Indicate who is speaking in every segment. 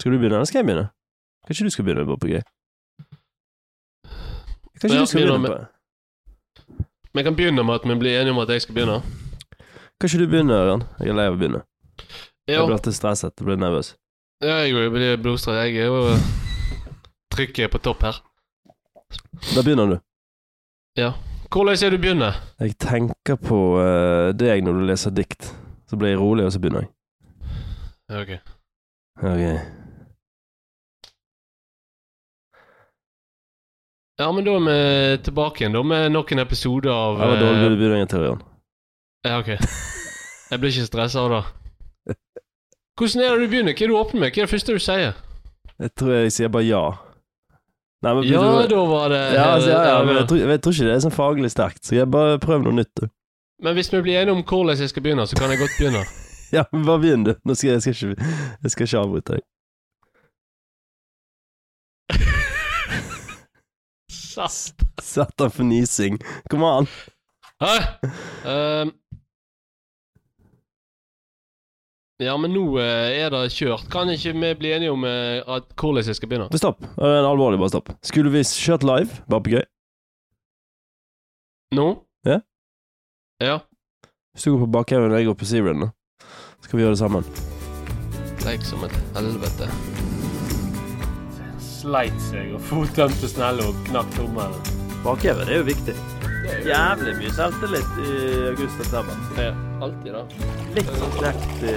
Speaker 1: Skal du begynne, eller skal jeg begynne? Kanskje du skal begynne på gøy? Kanskje
Speaker 2: Ja,
Speaker 1: du skal
Speaker 2: begynner
Speaker 1: begynne på
Speaker 2: Vi kan begynne med at vi blir enige om at jeg skal begynne.
Speaker 1: Kanskje du begynner, Ørjan? Jeg er lei av å begynne. Jeg
Speaker 2: Jo,
Speaker 1: blir alltid stresset. Jeg blir nervøs.
Speaker 2: ja, jeg jo blir blodstrøm. Jeg er jo Trykket er på topp her.
Speaker 1: Da begynner du.
Speaker 2: Hvordan er det du begynner?
Speaker 1: Jeg tenker på eh, deg når du leser dikt. Så blir jeg rolig, og så begynner jeg.
Speaker 2: Ja, Ok.
Speaker 1: Ok.
Speaker 2: Ja, men da er vi tilbake igjen da med nok en episode av
Speaker 1: Det var
Speaker 2: eh,
Speaker 1: dårlig begynning til Ørjan.
Speaker 2: Ja, ok. Jeg blir ikke stressa av det. Hvordan er det du begynner? Hva er det du åpner med? Hva er det første du sier?
Speaker 1: Jeg tror jeg sier bare ja. Nei, men
Speaker 2: Ja,
Speaker 1: du-
Speaker 2: da var det
Speaker 1: Ja, altså, ja, ja, men jeg
Speaker 2: men,
Speaker 1: tror, jeg tror ikke det er sånn faglig sterkt, så jeg bare prøv noe nytt. du.
Speaker 2: hvis vi blir enige om hvordan jeg skal begynne, så kan jeg godt begynne.
Speaker 1: Ja, men bare begynn, du. Nå skal jeg, jeg, skal ikke, jeg skal ikke avbryte deg.
Speaker 2: Sast.
Speaker 1: Sett deg for nising. Kom an.
Speaker 2: Hæ? Ehm. ja, men nå eh, er det kjørt. Kan ikke vi bli enige om eh, at hvordan jeg skal begynne?
Speaker 1: Men stopp. Eh, Alvorlig, bare stopp. Skulle vi kjørt live, bare på gøy?
Speaker 2: Nå?
Speaker 1: Ja.
Speaker 2: Ja.
Speaker 1: Hvis du går på Bakhaugen og jeg går på Seabrand, da, så skal vi gjøre det sammen.
Speaker 2: Leik som et helvete.
Speaker 3: sleit seg og fottømte snelle og knakk tommelen.
Speaker 1: Bakhaugen er jo viktig. Jævlig mye selvtillit i august-september.
Speaker 2: Ja, alltid da.
Speaker 1: Litt sånn knekt i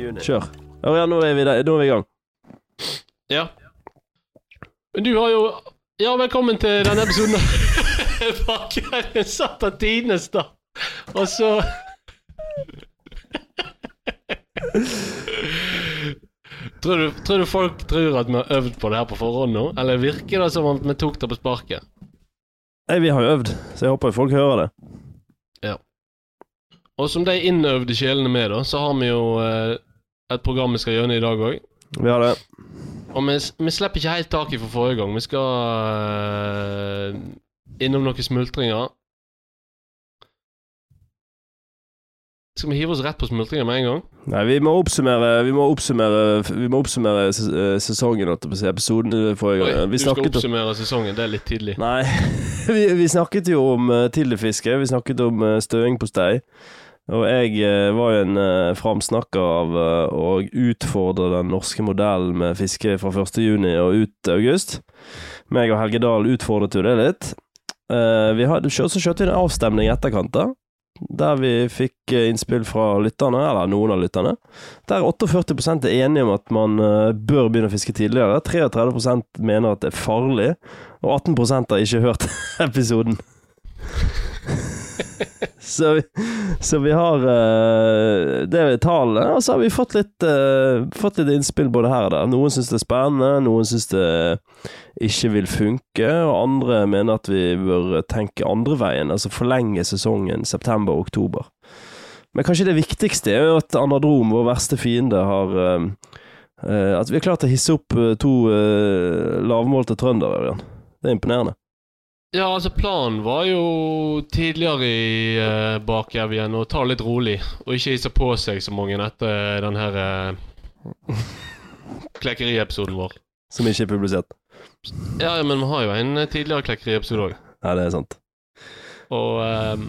Speaker 1: juni. Kjør. Ørjan, nå er vi der. Nå er vi i gang.
Speaker 2: Ja. Men du har jo Ja, velkommen til denne episoden av Bakkeren satt av tidenes, da. Og så tror, du, tror du folk tror at vi har øvd på det her på forhånd nå? Eller virker det som om vi tok det på sparket?
Speaker 1: Nei, vi har jo øvd, så jeg håper folk hører det.
Speaker 2: Og som de innøvde sjelene med, da, så har vi jo eh, et program vi skal gjennom i dag òg.
Speaker 1: Vi har det.
Speaker 2: Og vi, vi slipper ikke helt taket fra forrige gang. Vi skal øh, innom noen smultringer. Skal vi hive oss rett på smultringer med en gang?
Speaker 1: Nei, vi må oppsummere Vi må oppsummere, vi må oppsummere ses- eh, sesongen, holdt jeg på å si. Episoden eh, forrige gang.
Speaker 2: du
Speaker 1: Vi
Speaker 2: skal
Speaker 1: snakket om
Speaker 2: oppsummere sesongen. Det er litt tidlig.
Speaker 1: Nei, vi, vi snakket jo om eh, tidligfiske. Vi snakket om eh, støing på stei. Og jeg eh, var jo en eh, framsnakker av eh, å utfordre den norske modellen med fiske fra 1. juni og ut til august. Meg og Helge Dahl utfordret jo det litt. Eh, vi hadde, kjørt- så kjørte vi en avstemning i etterkant, da. Der vi fikk eh, innspill fra lytterne, eller noen av lytterne. Der 48 er enige om at man eh, bør begynne å fiske tidligere. 33 mener at det er farlig. Og 18 har ikke hørt episoden. så, vi, så vi har eh, det er tallene, og så har vi fått litt, eh, fått litt innspill både her og der. Noen syns det er spennende, noen syns det ikke vil funke, og andre mener at vi bør tenke andre veien, altså forlenge sesongen september-oktober. Men kanskje det viktigste er jo at Anadrom, vår verste fiende, har eh, eh, At vi har klart å hisse opp eh, to uh, lavmålte trøndere, Ørjan. Det er imponerende.
Speaker 2: Ja, altså Planen var jo tidligere i uh, Bakkjevjen å ta det litt rolig og ikke hisse på seg så mange etter den her eh, klekkeriepisoden vår.
Speaker 1: Som ikke er publisert.
Speaker 2: Ja, ja, men vi har jo en eh, tidligere klekkeriepisode òg.
Speaker 1: Nei, det er sant.
Speaker 2: Og ehm,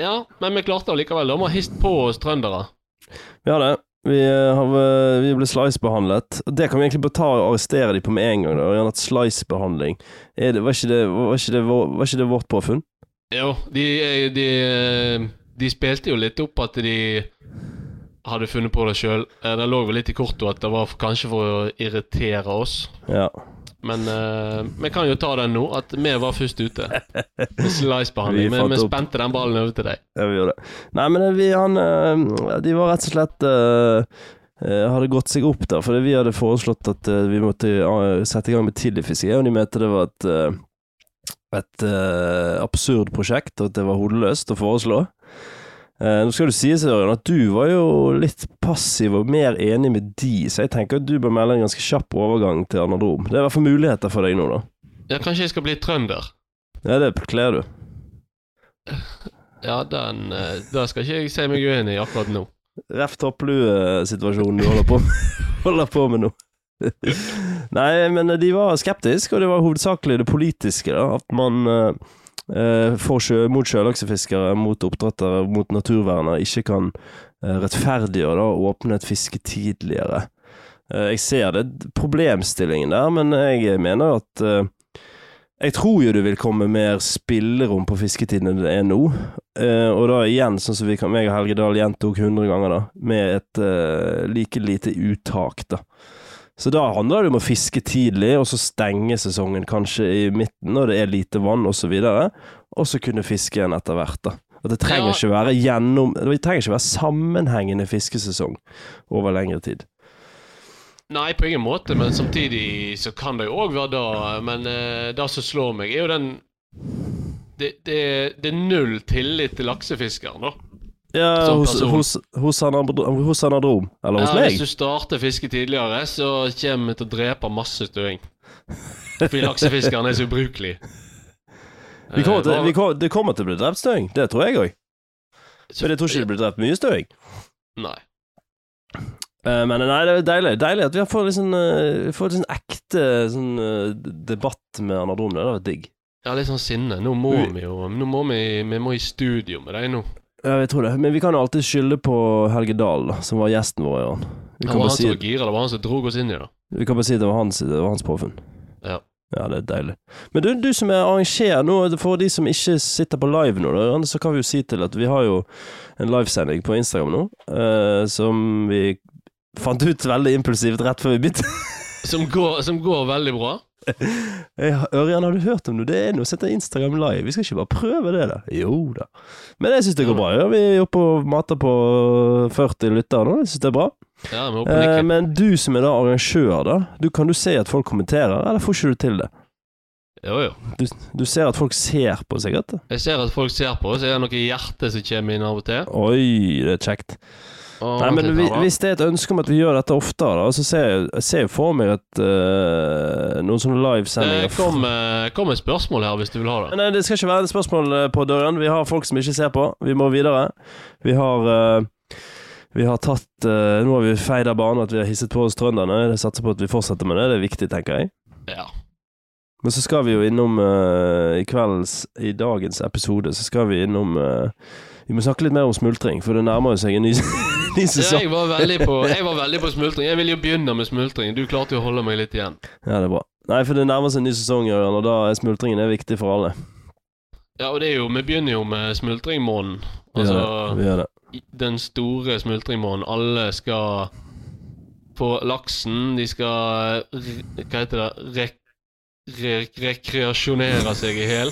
Speaker 2: Ja, men vi klarte det likevel. De har hist på oss trøndere.
Speaker 1: Vi har det. Vi, eh, har, eh, vi ble slice-behandlet. Og Det kan vi egentlig bare ta og arrestere de på med en gang. Da. Gjerne at slice-behandling er det, var, ikke det, var, ikke det, vår- var ikke det vårt påfunn?
Speaker 2: Jo, de, eh, de, eh, de spilte jo litt opp at de hadde funnet på det sjøl. Det lå vel litt i kortet at det var for, kanskje for å irritere oss.
Speaker 1: Ja.
Speaker 2: Men eh, vi kan jo ta den nå, at vi var først ute. Med
Speaker 1: Vi
Speaker 2: Slice-behandling. Vi,
Speaker 1: fant
Speaker 2: vi
Speaker 1: opp.
Speaker 2: spente den ballen over til deg.
Speaker 1: Ja, vi gjorde det. Nei, men vi, han eh, De var rett og slett eh, eh, Hadde gått seg opp der, fordi vi hadde foreslått at eh, vi måtte eh, sette i gang med tidligfiske, og de mente det var et eh, et eh, absurd prosjekt, og at det var hodeløst å foreslå. Eh, nå skal du sies, Ørjan, at du var jo litt passiv og mer enig med de, så jeg tenker at du bør melde en ganske kjapp overgang til anadrom. Det er i hvert fall muligheter for deg nå, da.
Speaker 2: Ja, kanskje jeg skal bli trønder.
Speaker 1: Ja, det kler du.
Speaker 2: Ja, den eh, Det skal ikke jeg si meg uenig i akkurat nå.
Speaker 1: Ref toppluesituasjonen du holder på, holder på med nå. Nei, men de var skeptiske, og det var hovedsakelig det politiske. da, At man eh, eh, for sjø, mot sjølaksefiskere, mot oppdrettere, mot naturvernere ikke kan eh, rettferdiggjøre da, å åpne et fiske tidligere. Eh, jeg ser det problemstillingen der, men jeg mener at eh, jeg tror jo det vil komme mer spillerom på fisketiden enn det er nå. Eh, og da igjen, sånn som vi kan, meg og Helge Dahl gjentok 100 ganger, da, med et eh, like lite uttak, da. Så da handler det om å fiske tidlig, og så stenge sesongen kanskje i midten når det er lite vann osv., og så kunne fiske igjen etter hvert. da. At det trenger
Speaker 2: Ja.
Speaker 1: ikke være gjennom, det trenger ikke være sammenhengende fiskesesong over lengre tid.
Speaker 2: Nei, på ingen måte, men samtidig så kan det jo òg være da. Men eh, det som slår meg, er jo den det, det, det er null tillit til laksefiskeren, da.
Speaker 1: Ja,
Speaker 2: Som
Speaker 1: hos,
Speaker 2: person.
Speaker 1: hos, hos, han, andro- hos han androm, eller hos
Speaker 2: Ja,
Speaker 1: meg.
Speaker 2: hvis du starter fiske tidligere, så kommer vi til å drepe masse støing. Fordi laksefiskeren er så ubrukelig.
Speaker 1: Vi kommer til,
Speaker 2: Eh,
Speaker 1: vi kommer, det kommer til å bli drept støing, det tror jeg òg. Men jeg tror ikke det blir drept mye støing.
Speaker 2: Nei.
Speaker 1: Eh, Men nei, det er deilig, deilig at vi har fått litt sånn, eh, fått litt sånn ekte sånn, eh, debatt med Anadrom. Det hadde vært digg.
Speaker 2: Ja, litt sånn sinne. Nå må vi jo Nå må vi, vi må i studio med deg nå.
Speaker 1: Ja, jeg tror det. Men vi kan jo alltid skylde på Helge Dahl, da, som var gjesten vår i år. Vi
Speaker 2: Han
Speaker 1: kan,
Speaker 2: var
Speaker 1: bare
Speaker 2: han
Speaker 1: si,
Speaker 2: som var gira, det var han som drog oss inn i det.
Speaker 1: vi kan bare si det var hans, det var hans påfunn.
Speaker 2: Ja.
Speaker 1: Ja, det er deilig. Men du, du som er arrangerer nå, for de som ikke sitter på live nå, da, så kan vi jo si til at vi har jo en livesending på Instagram nå, eh, som vi fant ut veldig impulsivt rett før vi begynte.
Speaker 2: Som går, som går veldig bra.
Speaker 1: Jeg har- Ørjan, har du hørt om det? Det er noe som heter Instagram live. Vi skal ikke bare prøve det, da? Jo da. Men jeg syns det går bra. Ja. Vi er oppe og mater på 40 lyttere nå. Jeg syns det er bra.
Speaker 2: Ja, vi
Speaker 1: Eh,
Speaker 2: håper nikke.
Speaker 1: men du som er da arrangør, da, du, kan du se at folk kommenterer, eller får ikke du til det?
Speaker 2: Jo, jo.
Speaker 1: Du, du ser at folk ser på, sikkert?
Speaker 2: Jeg ser at folk ser på oss. Er det noe hjerte som kommer inn av og til?
Speaker 1: Oi, det er kjekt.
Speaker 2: Og
Speaker 1: Nei, men
Speaker 2: sitter
Speaker 1: vi,
Speaker 2: her, da.
Speaker 1: Hvis det er et ønske om at vi gjør dette oftere, da, så ser jeg, jeg ser jo for meg at eh, noen sånne
Speaker 2: Eh,
Speaker 1: livesendinger
Speaker 2: kom, eh, kom med spørsmål her hvis du vil ha det.
Speaker 1: Nei, det skal ikke være et spørsmål eh, på døren. Vi har folk som ikke ser på. Vi må videre. Vi har eh, vi har tatt eh, Nå har vi feid av banen at vi har hisset på oss trønderne. Jeg satser på at vi fortsetter med det. Det er viktig, tenker jeg.
Speaker 2: Ja.
Speaker 1: Men så skal vi jo innom eh, I kveldens I dagens episode så skal vi innom eh, Vi må snakke litt mer om smultring, for det nærmer jo seg en ny, ny sesong.
Speaker 2: Jeg var, veldig på, jeg var veldig på smultring. Jeg ville jo begynne med smultring. Du klarte jo å holde meg litt igjen.
Speaker 1: Ja, det er bra. Nei, for det nærmer seg en ny sesong, Jørgen, og da er smultringen er viktig for alle.
Speaker 2: Ja, og det er jo, Vi begynner jo med smultringmåneden.
Speaker 1: Vi gjør det.
Speaker 2: Altså
Speaker 1: Vi gjør det.
Speaker 2: den store smultringmåneden. Alle skal få laksen. De skal eh, re- Hva heter det? Rek, re, rekreasjonere seg i hel.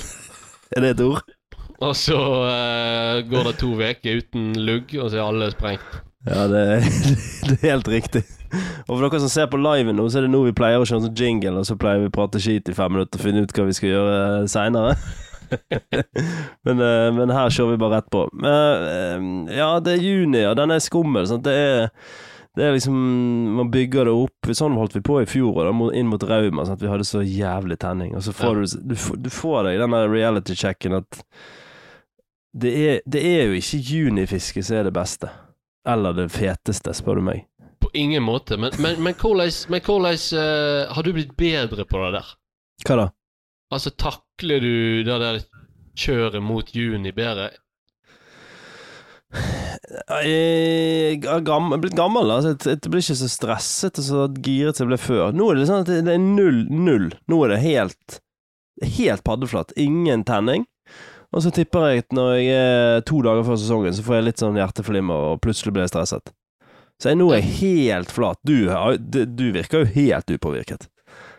Speaker 1: Er det et ord?
Speaker 2: Og så eh, går det to uker uten lugg, og så er alle sprengt.
Speaker 1: Ja, det er, det er helt riktig. Og for dere som ser på liven nå, så er det nå vi pleier å kjøre en sånn jingle, og så pleier vi å prate skit i fem minutter og finne ut hva vi skal gjøre seinere. men, eh, men her kjører vi bare rett på. Men, eh, ja, det er juni, og den er skummel. Sant? Det er det er liksom, Man bygger det opp. Sånn holdt vi på i fjor, og da, mot- inn mot Rauma. Sant? Vi hadde så jævlig tenning. Og så får du, du, får- du får deg den der reality-checken at det er, det er jo ikke junifiske som er det beste. Eller det feteste, spør du meg.
Speaker 2: På ingen måte. Men, men, men hvordan, men hvordan eh, har du blitt bedre på det der?
Speaker 1: Hva da?
Speaker 2: Altså, takler du det der kjøret mot juni bedre?
Speaker 1: Jeg har gam- jeg er blitt gammel, da, så jeg, jeg blir ikke så stresset og så giret som jeg ble før. Nå er det sånn at det- det er null, null. Nå er det helt, helt paddeflatt. Ingen tenning. Og så tipper jeg at når jeg er to dager før sesongen, så får jeg litt sånn hjerteflimmer, og plutselig blir jeg stresset. Så jeg, nå er jeg helt flat. Du, har- du du virker jo helt upåvirket.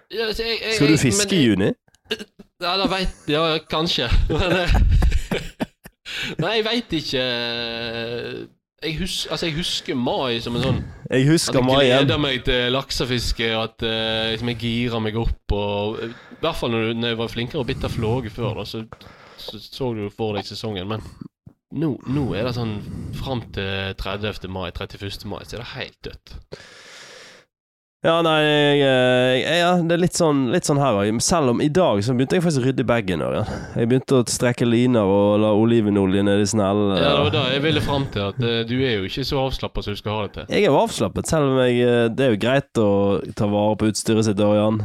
Speaker 2: Ja, altså, jeg- jeg-
Speaker 1: Skal du
Speaker 2: jeg-
Speaker 1: fiske
Speaker 2: men-
Speaker 1: i juni?
Speaker 2: Ja, da veit Ja, ja, kanskje. Men eh, Nei, jeg veit ikke. Jeg, hus, altså, jeg husker mai som en sånn
Speaker 1: Jeg
Speaker 2: At
Speaker 1: husker
Speaker 2: jeg
Speaker 1: mai igjen.
Speaker 2: gleder meg til laksefiske, og at eh, liksom, jeg girer meg opp og I hvert fall når, du- når jeg var flinkere å bitte flåge før, da, så, så så du jo for deg sesongen. Men nå, nå er det sånn fram til 30. mai, 31. mai, så er det helt dødt.
Speaker 1: Ja, nei, jeg, eh, jeg, ja, det er litt sånn, litt sånn her òg. Selv om i dag så begynte jeg faktisk å rydde i bagen. også, Ja. Jeg begynte å strekke liner og la olivenolje nedi snellen.
Speaker 2: Ja, det var det jeg ville fram til. At eh, du er jo ikke så avslappa som du skal ha det til.
Speaker 1: Jeg er jo avslappet, selv om jeg eh, Det er jo greit å ta vare på utstyret sitt, Ørjan.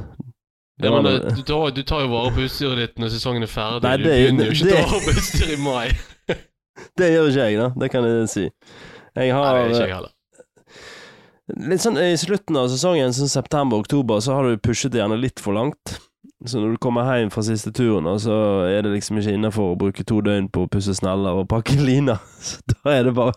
Speaker 2: Ja, men
Speaker 1: var-
Speaker 2: eh, du tar, du tar jo vare på utstyret ditt når sesongen er ferdig.
Speaker 1: Nei,
Speaker 2: du
Speaker 1: det er jo-
Speaker 2: begynner jo ikke å
Speaker 1: det-
Speaker 2: ta vare på utstyret i mai.
Speaker 1: Det gjør ikke jeg, da. Det kan jeg si. Jeg
Speaker 2: Nei,
Speaker 1: har
Speaker 2: det er ikke
Speaker 1: eh,
Speaker 2: jeg heller.
Speaker 1: Litt sånn I slutten av sesongen, sånn september-oktober, så har du pushet det gjerne litt for langt. Så når du kommer hjem fra siste turen, da, så er det liksom ikke innafor å bruke to døgn på å pusse sneller og pakke liner. Så da er det bare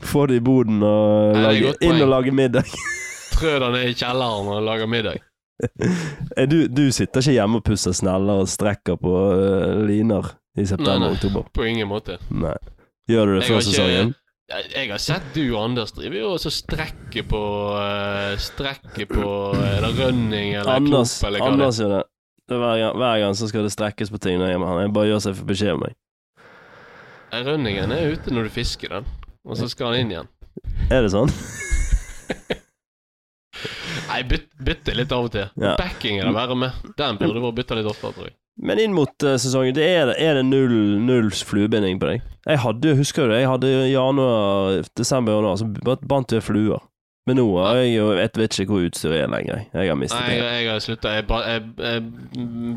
Speaker 1: få det i boden og
Speaker 2: Nei, det er
Speaker 1: lage,
Speaker 2: godt poeng.
Speaker 1: inn og lage middag.
Speaker 2: Trø deg ned i kjelleren og lager middag.
Speaker 1: Eh, Du, du sitter ikke hjemme og pusser sneller og strekker på eh, liner i
Speaker 2: Nei, nei.
Speaker 1: september-oktober?
Speaker 2: På ingen måte.
Speaker 1: Nei. Gjør du det
Speaker 2: Jeg
Speaker 1: før
Speaker 2: har ikke-
Speaker 1: sesongen?
Speaker 2: Jeg, jeg har sett du og Anders driver jo også strekker på eh, Strekker på eh, Er det rønning eller
Speaker 1: Anders,
Speaker 2: klump eller hva det er.
Speaker 1: Anders gjør det. det er hver, gang, hver gang så skal det strekkes på ting når jeg er med han. Jeg bare gjør seg for beskjed om meg.
Speaker 2: Eh, Rønningen er ute når du fisker den, og så skal den inn igjen.
Speaker 1: Er det sånn?
Speaker 2: Nei, bytt, bytte litt av og til.
Speaker 1: Ja.
Speaker 2: Backing er det verre med. Den burde vært bytta litt oftere, tror jeg.
Speaker 1: Men inn mot eh, sesongen, det er, er det null, null fluebinding på deg? Jeg hadde, jo- Husker du det? Jeg hadde i januar, desember og januar, så b- bandt jeg fluer. Men nå har jeg jo Jeg vet ikke hvor utstyret er lenger. jeg. Jeg har mistet
Speaker 2: Nei, jeg, jeg har slutta. Jeg, ba- jeg, jeg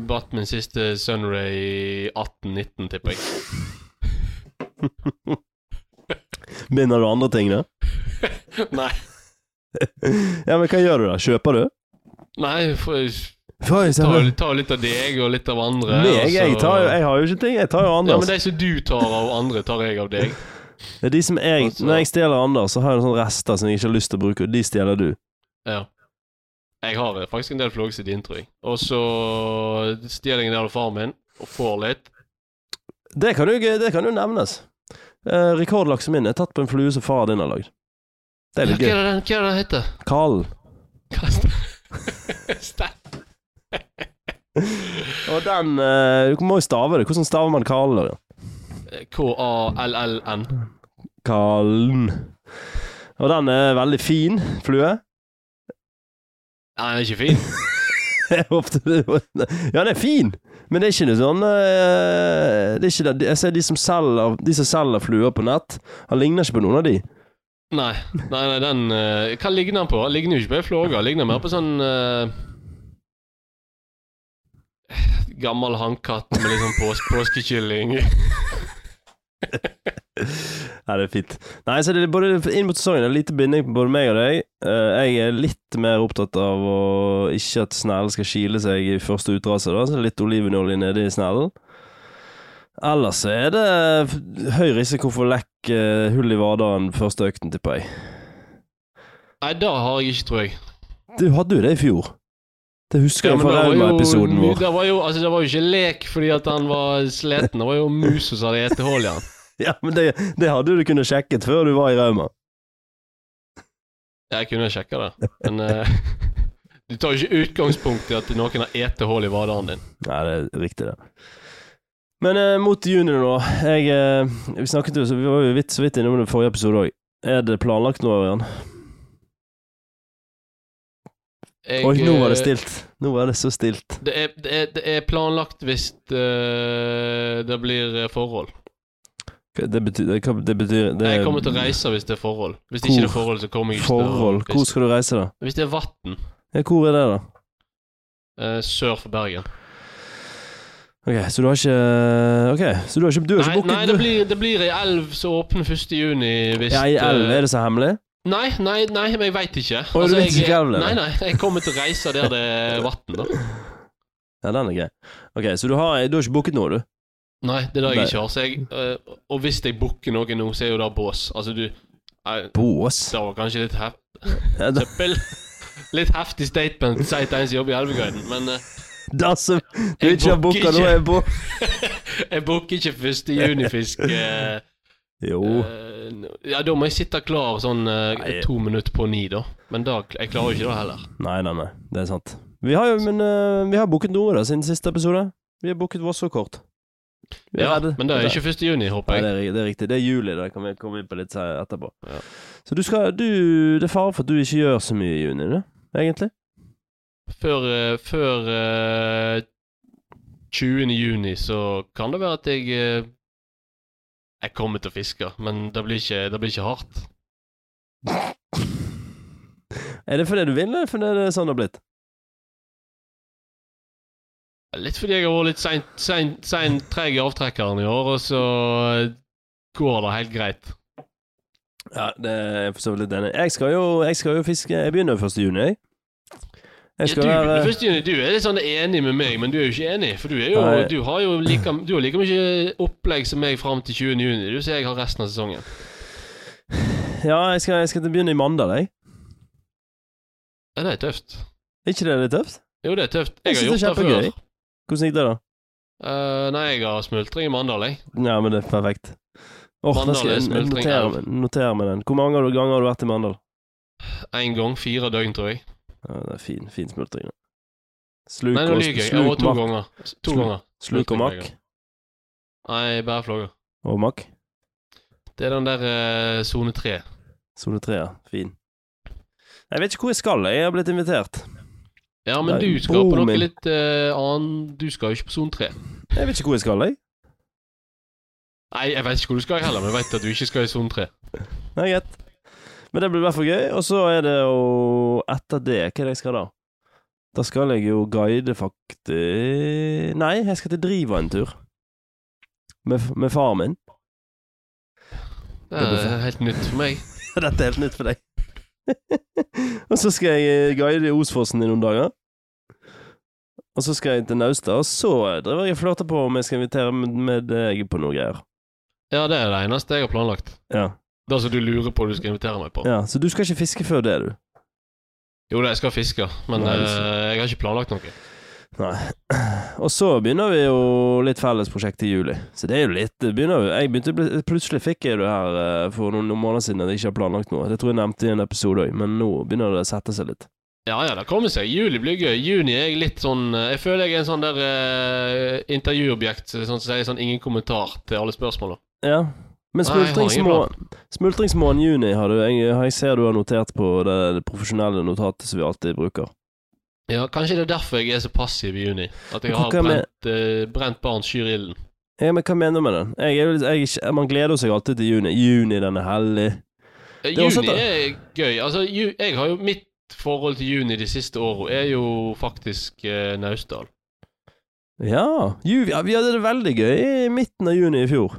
Speaker 2: batt min siste Sunray i 18-19, tipper jeg.
Speaker 1: det. Binder du andre ting, da?
Speaker 2: Nei.
Speaker 1: Ja, men hva gjør du da? Kjøper du?
Speaker 2: Nei, for jeg
Speaker 1: Får jeg se
Speaker 2: tar
Speaker 1: på?
Speaker 2: jo tar jo litt av deg og litt av andre.
Speaker 1: Meg?
Speaker 2: og så-
Speaker 1: Jeg, tar jo, jeg har jo ikke ting. Jeg tar jo
Speaker 2: Ja, men
Speaker 1: Anders.
Speaker 2: de som du tar av andre, tar jeg av deg.
Speaker 1: Det er de som jeg,
Speaker 2: Altså-
Speaker 1: Når jeg stjeler Anders, så har jeg noen rester som jeg ikke har lyst til å bruke, og de stjeler du.
Speaker 2: Ja. Jeg har eh, faktisk en del flågs i din, tror jeg. Og så stjeler jeg en del av faren min, og får litt.
Speaker 1: Det kan jo, det kan jo nevnes. Eh, rekordlaksen min er tatt på en flue som far din har lagd. Det er
Speaker 2: Ja,
Speaker 1: litt
Speaker 2: Hva er
Speaker 1: gøy.
Speaker 2: det den, hva er det den heter?
Speaker 1: Karlen.
Speaker 2: Hva- Stein-
Speaker 1: Og den eh, Du må jo stave det. Hvordan staver man Karlen? Ørjan?
Speaker 2: K-a-l-l-n.
Speaker 1: Karlen. Og den er veldig fin flue.
Speaker 2: Nei, den er ikke fin.
Speaker 1: Jeg håpte det var Ja, den er fin, men det er ikke noe sånn eh, Det er ikke det. Jeg ser de som selger, de som selger fluer på nett. Han ligner ikke på noen av de.
Speaker 2: Nei, nei, nei den eh, Hva ligner den på? Den Ligner jo ikke på ei flåge. Ligner mer på sånn eh, Gammel hannkatt med litt sånn pås påskekylling.
Speaker 1: Nei, det er fint. Nei, så det er både inn mot sesongen det er lite binding på både meg og deg. Eh, jeg er litt mer opptatt av å ikke at snellen skal kile seg i første utrase, da. Så litt olivenolje nedi i snellen. Ellers så er det f- høy risiko for lekk, eh, hull i vaderen første økten, tipper jeg.
Speaker 2: Nei, det har jeg ikke, tror jeg.
Speaker 1: Du hadde jo det i fjor. Det husker
Speaker 2: Ja,
Speaker 1: jeg
Speaker 2: men
Speaker 1: fra
Speaker 2: det var jo
Speaker 1: Rauma-episoden
Speaker 2: mu-
Speaker 1: vår.
Speaker 2: Det var, jo, altså, det var jo ikke lek fordi at han var sliten. Det var jo mus som hadde spist hull i han.
Speaker 1: Ja, men det, det hadde du kunnet sjekket før du var i Rauma.
Speaker 2: Jeg kunne sjekka det, men eh, du tar jo ikke utgangspunkt i at noen har spist hull i vaderen din.
Speaker 1: Nei, det er riktig, det. Men eh, mot juni nå jeg, eh, Vi snakket jo, så vi var jo vidt, så vidt innom det i forrige episode òg. Er det planlagt nå, Ørjan?
Speaker 2: Jeg,
Speaker 1: Oi, nå var det
Speaker 2: eh,
Speaker 1: stilt. Nå var det så stilt.
Speaker 2: Det er, det, er, det er planlagt hvis eh, det blir eh, forhold.
Speaker 1: Hva- Det betyr, det, hva- det betyr det,
Speaker 2: Jeg kommer til å reise hvis det er forhold. Hvis det
Speaker 1: Hvor?
Speaker 2: ikke er forhold, så kommer jeg ikke
Speaker 1: Forhold.
Speaker 2: til å
Speaker 1: Hvor skal du reise, da?
Speaker 2: hvis, hvis det er vann eh,
Speaker 1: Ja, hvor er det, da?
Speaker 2: sør for Bergen.
Speaker 1: Ok, så du har ikke Ok, så du har ikke Du har ikke
Speaker 2: Nei, nei
Speaker 1: booket
Speaker 2: det,
Speaker 1: du-
Speaker 2: blir, det blir ei elv som åpner 1. juni hvis
Speaker 1: Ja, i elv,
Speaker 2: eh,
Speaker 1: er det så hemmelig?
Speaker 2: Nei, nei, nei, men jeg veit ikke. Altså,
Speaker 1: Å, du vet
Speaker 2: jeg,
Speaker 1: ikke elven,
Speaker 2: Nei,
Speaker 1: eller?
Speaker 2: nei, jeg kommer til å reise der det er vann, da.
Speaker 1: Ja, den er grei. Ok, så du har, du har ikke booket noe, du?
Speaker 2: Nei, det er det
Speaker 1: Nei.
Speaker 2: jeg ikke har. Så jeg, eh, og hvis jeg booker noe nå, så er jo det bås. Altså, du nei,
Speaker 1: Bås?
Speaker 2: Det var kanskje litt hef
Speaker 1: Ja, da-
Speaker 2: søppel. Litt heftig statement, sier til en som jobber i Elveguiden, men eh,
Speaker 1: da som du
Speaker 2: Jeg
Speaker 1: ikke har
Speaker 2: booker
Speaker 1: booket noe,
Speaker 2: ikke.
Speaker 1: er bås
Speaker 2: jeg booker ikke 1. junifisk. eh,
Speaker 1: Jo.
Speaker 2: eh, ja, da må jeg sitte klar sånn eh,
Speaker 1: Oh. Nei.
Speaker 2: to minutter på ni, da. Men da, jeg klarer jo ikke det heller.
Speaker 1: Nei, nei, nei. Det er sant. Vi har jo, men eh, vi har booket noe da, siden siste episode. Vi har booket Vosso-kort. Vi
Speaker 2: Ja,
Speaker 1: redde-
Speaker 2: men det er ikke 1. juni,
Speaker 1: Nei,
Speaker 2: håper
Speaker 1: det
Speaker 2: jeg.
Speaker 1: er, ri- det er riktig. Det er juli, det kan vi komme inn på litt se- etterpå.
Speaker 2: Ja.
Speaker 1: Så du skal du, Det er fare for at du ikke gjør så mye i juni, du. egentlig.
Speaker 2: Før, eh, før eh, 20. juni så kan det være at jeg eh, Jeg kommer til å fiske, men det blir ikke, det blir ikke hardt.
Speaker 1: Er det fordi du vil, eller fordi det er sånn det har blitt?
Speaker 2: Litt fordi jeg har vært litt seint- seint- seint treg i avtrekkeren i år, og så eh, går det helt greit.
Speaker 1: Ja, det er jeg for så vidt litt enig. i. Jeg skal jo, jeg skal jo fiske Jeg begynner 1. juni, jeg. Jeg skal
Speaker 2: ja, du,
Speaker 1: være
Speaker 2: først, Juni, du er litt sånn enig med meg, men du er jo ikke enig. For du, er jo,
Speaker 1: Nei.
Speaker 2: du har jo like, du har like mye opplegg som meg fram til 20. juni. Du ser jeg har resten av sesongen.
Speaker 1: Ja, jeg skal, jeg skal til å begynne i mandag, jeg.
Speaker 2: Ja, det er tøft.
Speaker 1: Er ikke det litt tøft?
Speaker 2: Jo, det er tøft.
Speaker 1: Jeg
Speaker 2: Jeg har
Speaker 1: synes
Speaker 2: gjort
Speaker 1: det
Speaker 2: det
Speaker 1: er
Speaker 2: før.
Speaker 1: kjempegøy. Hvordan gikk det, da?
Speaker 2: Eh, nei, jeg har smultring i Mandal, jeg.
Speaker 1: Ja, men det er perfekt. Åh, da
Speaker 2: Mandal
Speaker 1: skal
Speaker 2: er
Speaker 1: jeg
Speaker 2: smultring,
Speaker 1: notere, notere meg den. Hvor mange har du- ganger har du vært i Mandal?
Speaker 2: Én gang, fire døgn, tror jeg.
Speaker 1: Ja, det er fin, fin smultring. da. Sluk
Speaker 2: Nei, nå
Speaker 1: og,
Speaker 2: lyver jeg. Jeg var
Speaker 1: sluk,
Speaker 2: to
Speaker 1: mak,
Speaker 2: ganger. To
Speaker 1: Sluk-
Speaker 2: ganger.
Speaker 1: sluk og makk.
Speaker 2: Nei, bare flagger.
Speaker 1: Og makk.
Speaker 2: Det er den der eh, sone tre.
Speaker 1: Sone 3, ja. Fin. Jeg vet ikke hvor jeg skal. Jeg har blitt invitert.
Speaker 2: Ja, men
Speaker 1: Nei,
Speaker 2: du skal på
Speaker 1: broren
Speaker 2: noe
Speaker 1: min.
Speaker 2: litt eh, annen Du skal jo ikke på sone tre.
Speaker 1: Jeg vet ikke hvor jeg skal, jeg.
Speaker 2: Nei, jeg vet ikke hvor du skal heller, men jeg vet at du ikke skal i sone tre.
Speaker 1: Nei, greit. Men det blir i hvert fall gøy. Og så er det jo Etter det, hva er det jeg skal da? Da skal jeg jo guide faktisk Nei, jeg skal til Driva en tur. Med, med faren min.
Speaker 2: Det er Eh, helt nytt for meg.
Speaker 1: Dette er helt nytt for deg. og så skal jeg eh, guide i Osfossen i noen dager. Og så skal jeg til Naustad, og så eh, driver jeg og flørter på om jeg skal invitere med, med deg på noe greier.
Speaker 2: Ja, det er det eneste jeg har planlagt.
Speaker 1: Ja.
Speaker 2: Det som du lurer på du skal invitere meg på.
Speaker 1: ja, Så du skal ikke fiske før det, du?
Speaker 2: Jo da, jeg skal fiske, men
Speaker 1: Nei, det er
Speaker 2: eh, jeg har ikke planlagt noe.
Speaker 1: Nei. Og så begynner vi jo litt felles prosjekt i juli. Så det er jo litt det begynner jo, jeg begynte, å bli- Plutselig fikk jeg det her eh, for noen, noen måneder siden at jeg ikke har planlagt noe. Det tror jeg nevnte i en episode òg, men nå begynner det å sette seg litt.
Speaker 2: Ja ja, det kommer seg. Juli blir gøy. Juni er jeg litt sånn eh, Jeg føler jeg er en sånn der eh, intervjuobjekt sånn som sier sånn ingen kommentar til alle spørsmåla.
Speaker 1: Ja. Men
Speaker 2: Nei, jeg har ingen
Speaker 1: smultringsmål- smultringsmålen juni har du, jeg, jeg ser du har notert på det, det profesjonelle notatet som vi alltid bruker.
Speaker 2: Ja, kanskje det er derfor jeg er så passiv i juni. At jeg
Speaker 1: Men
Speaker 2: har
Speaker 1: hva med-
Speaker 2: brent, eh, brent barn skyr ilden.
Speaker 1: Ja, men hva mener du med det? Jeg, er jo litt- jeg, er ikke- man gleder seg alltid til juni. Juni, den er hellig.
Speaker 2: Eh,
Speaker 1: Det er også
Speaker 2: Juni er gøy. Altså, ju, jeg har jo mitt forhold til juni de siste åra er jo faktisk eh, Naustdal.
Speaker 1: Ja, ju, ja, vi hadde det veldig gøy i midten av juni i fjor.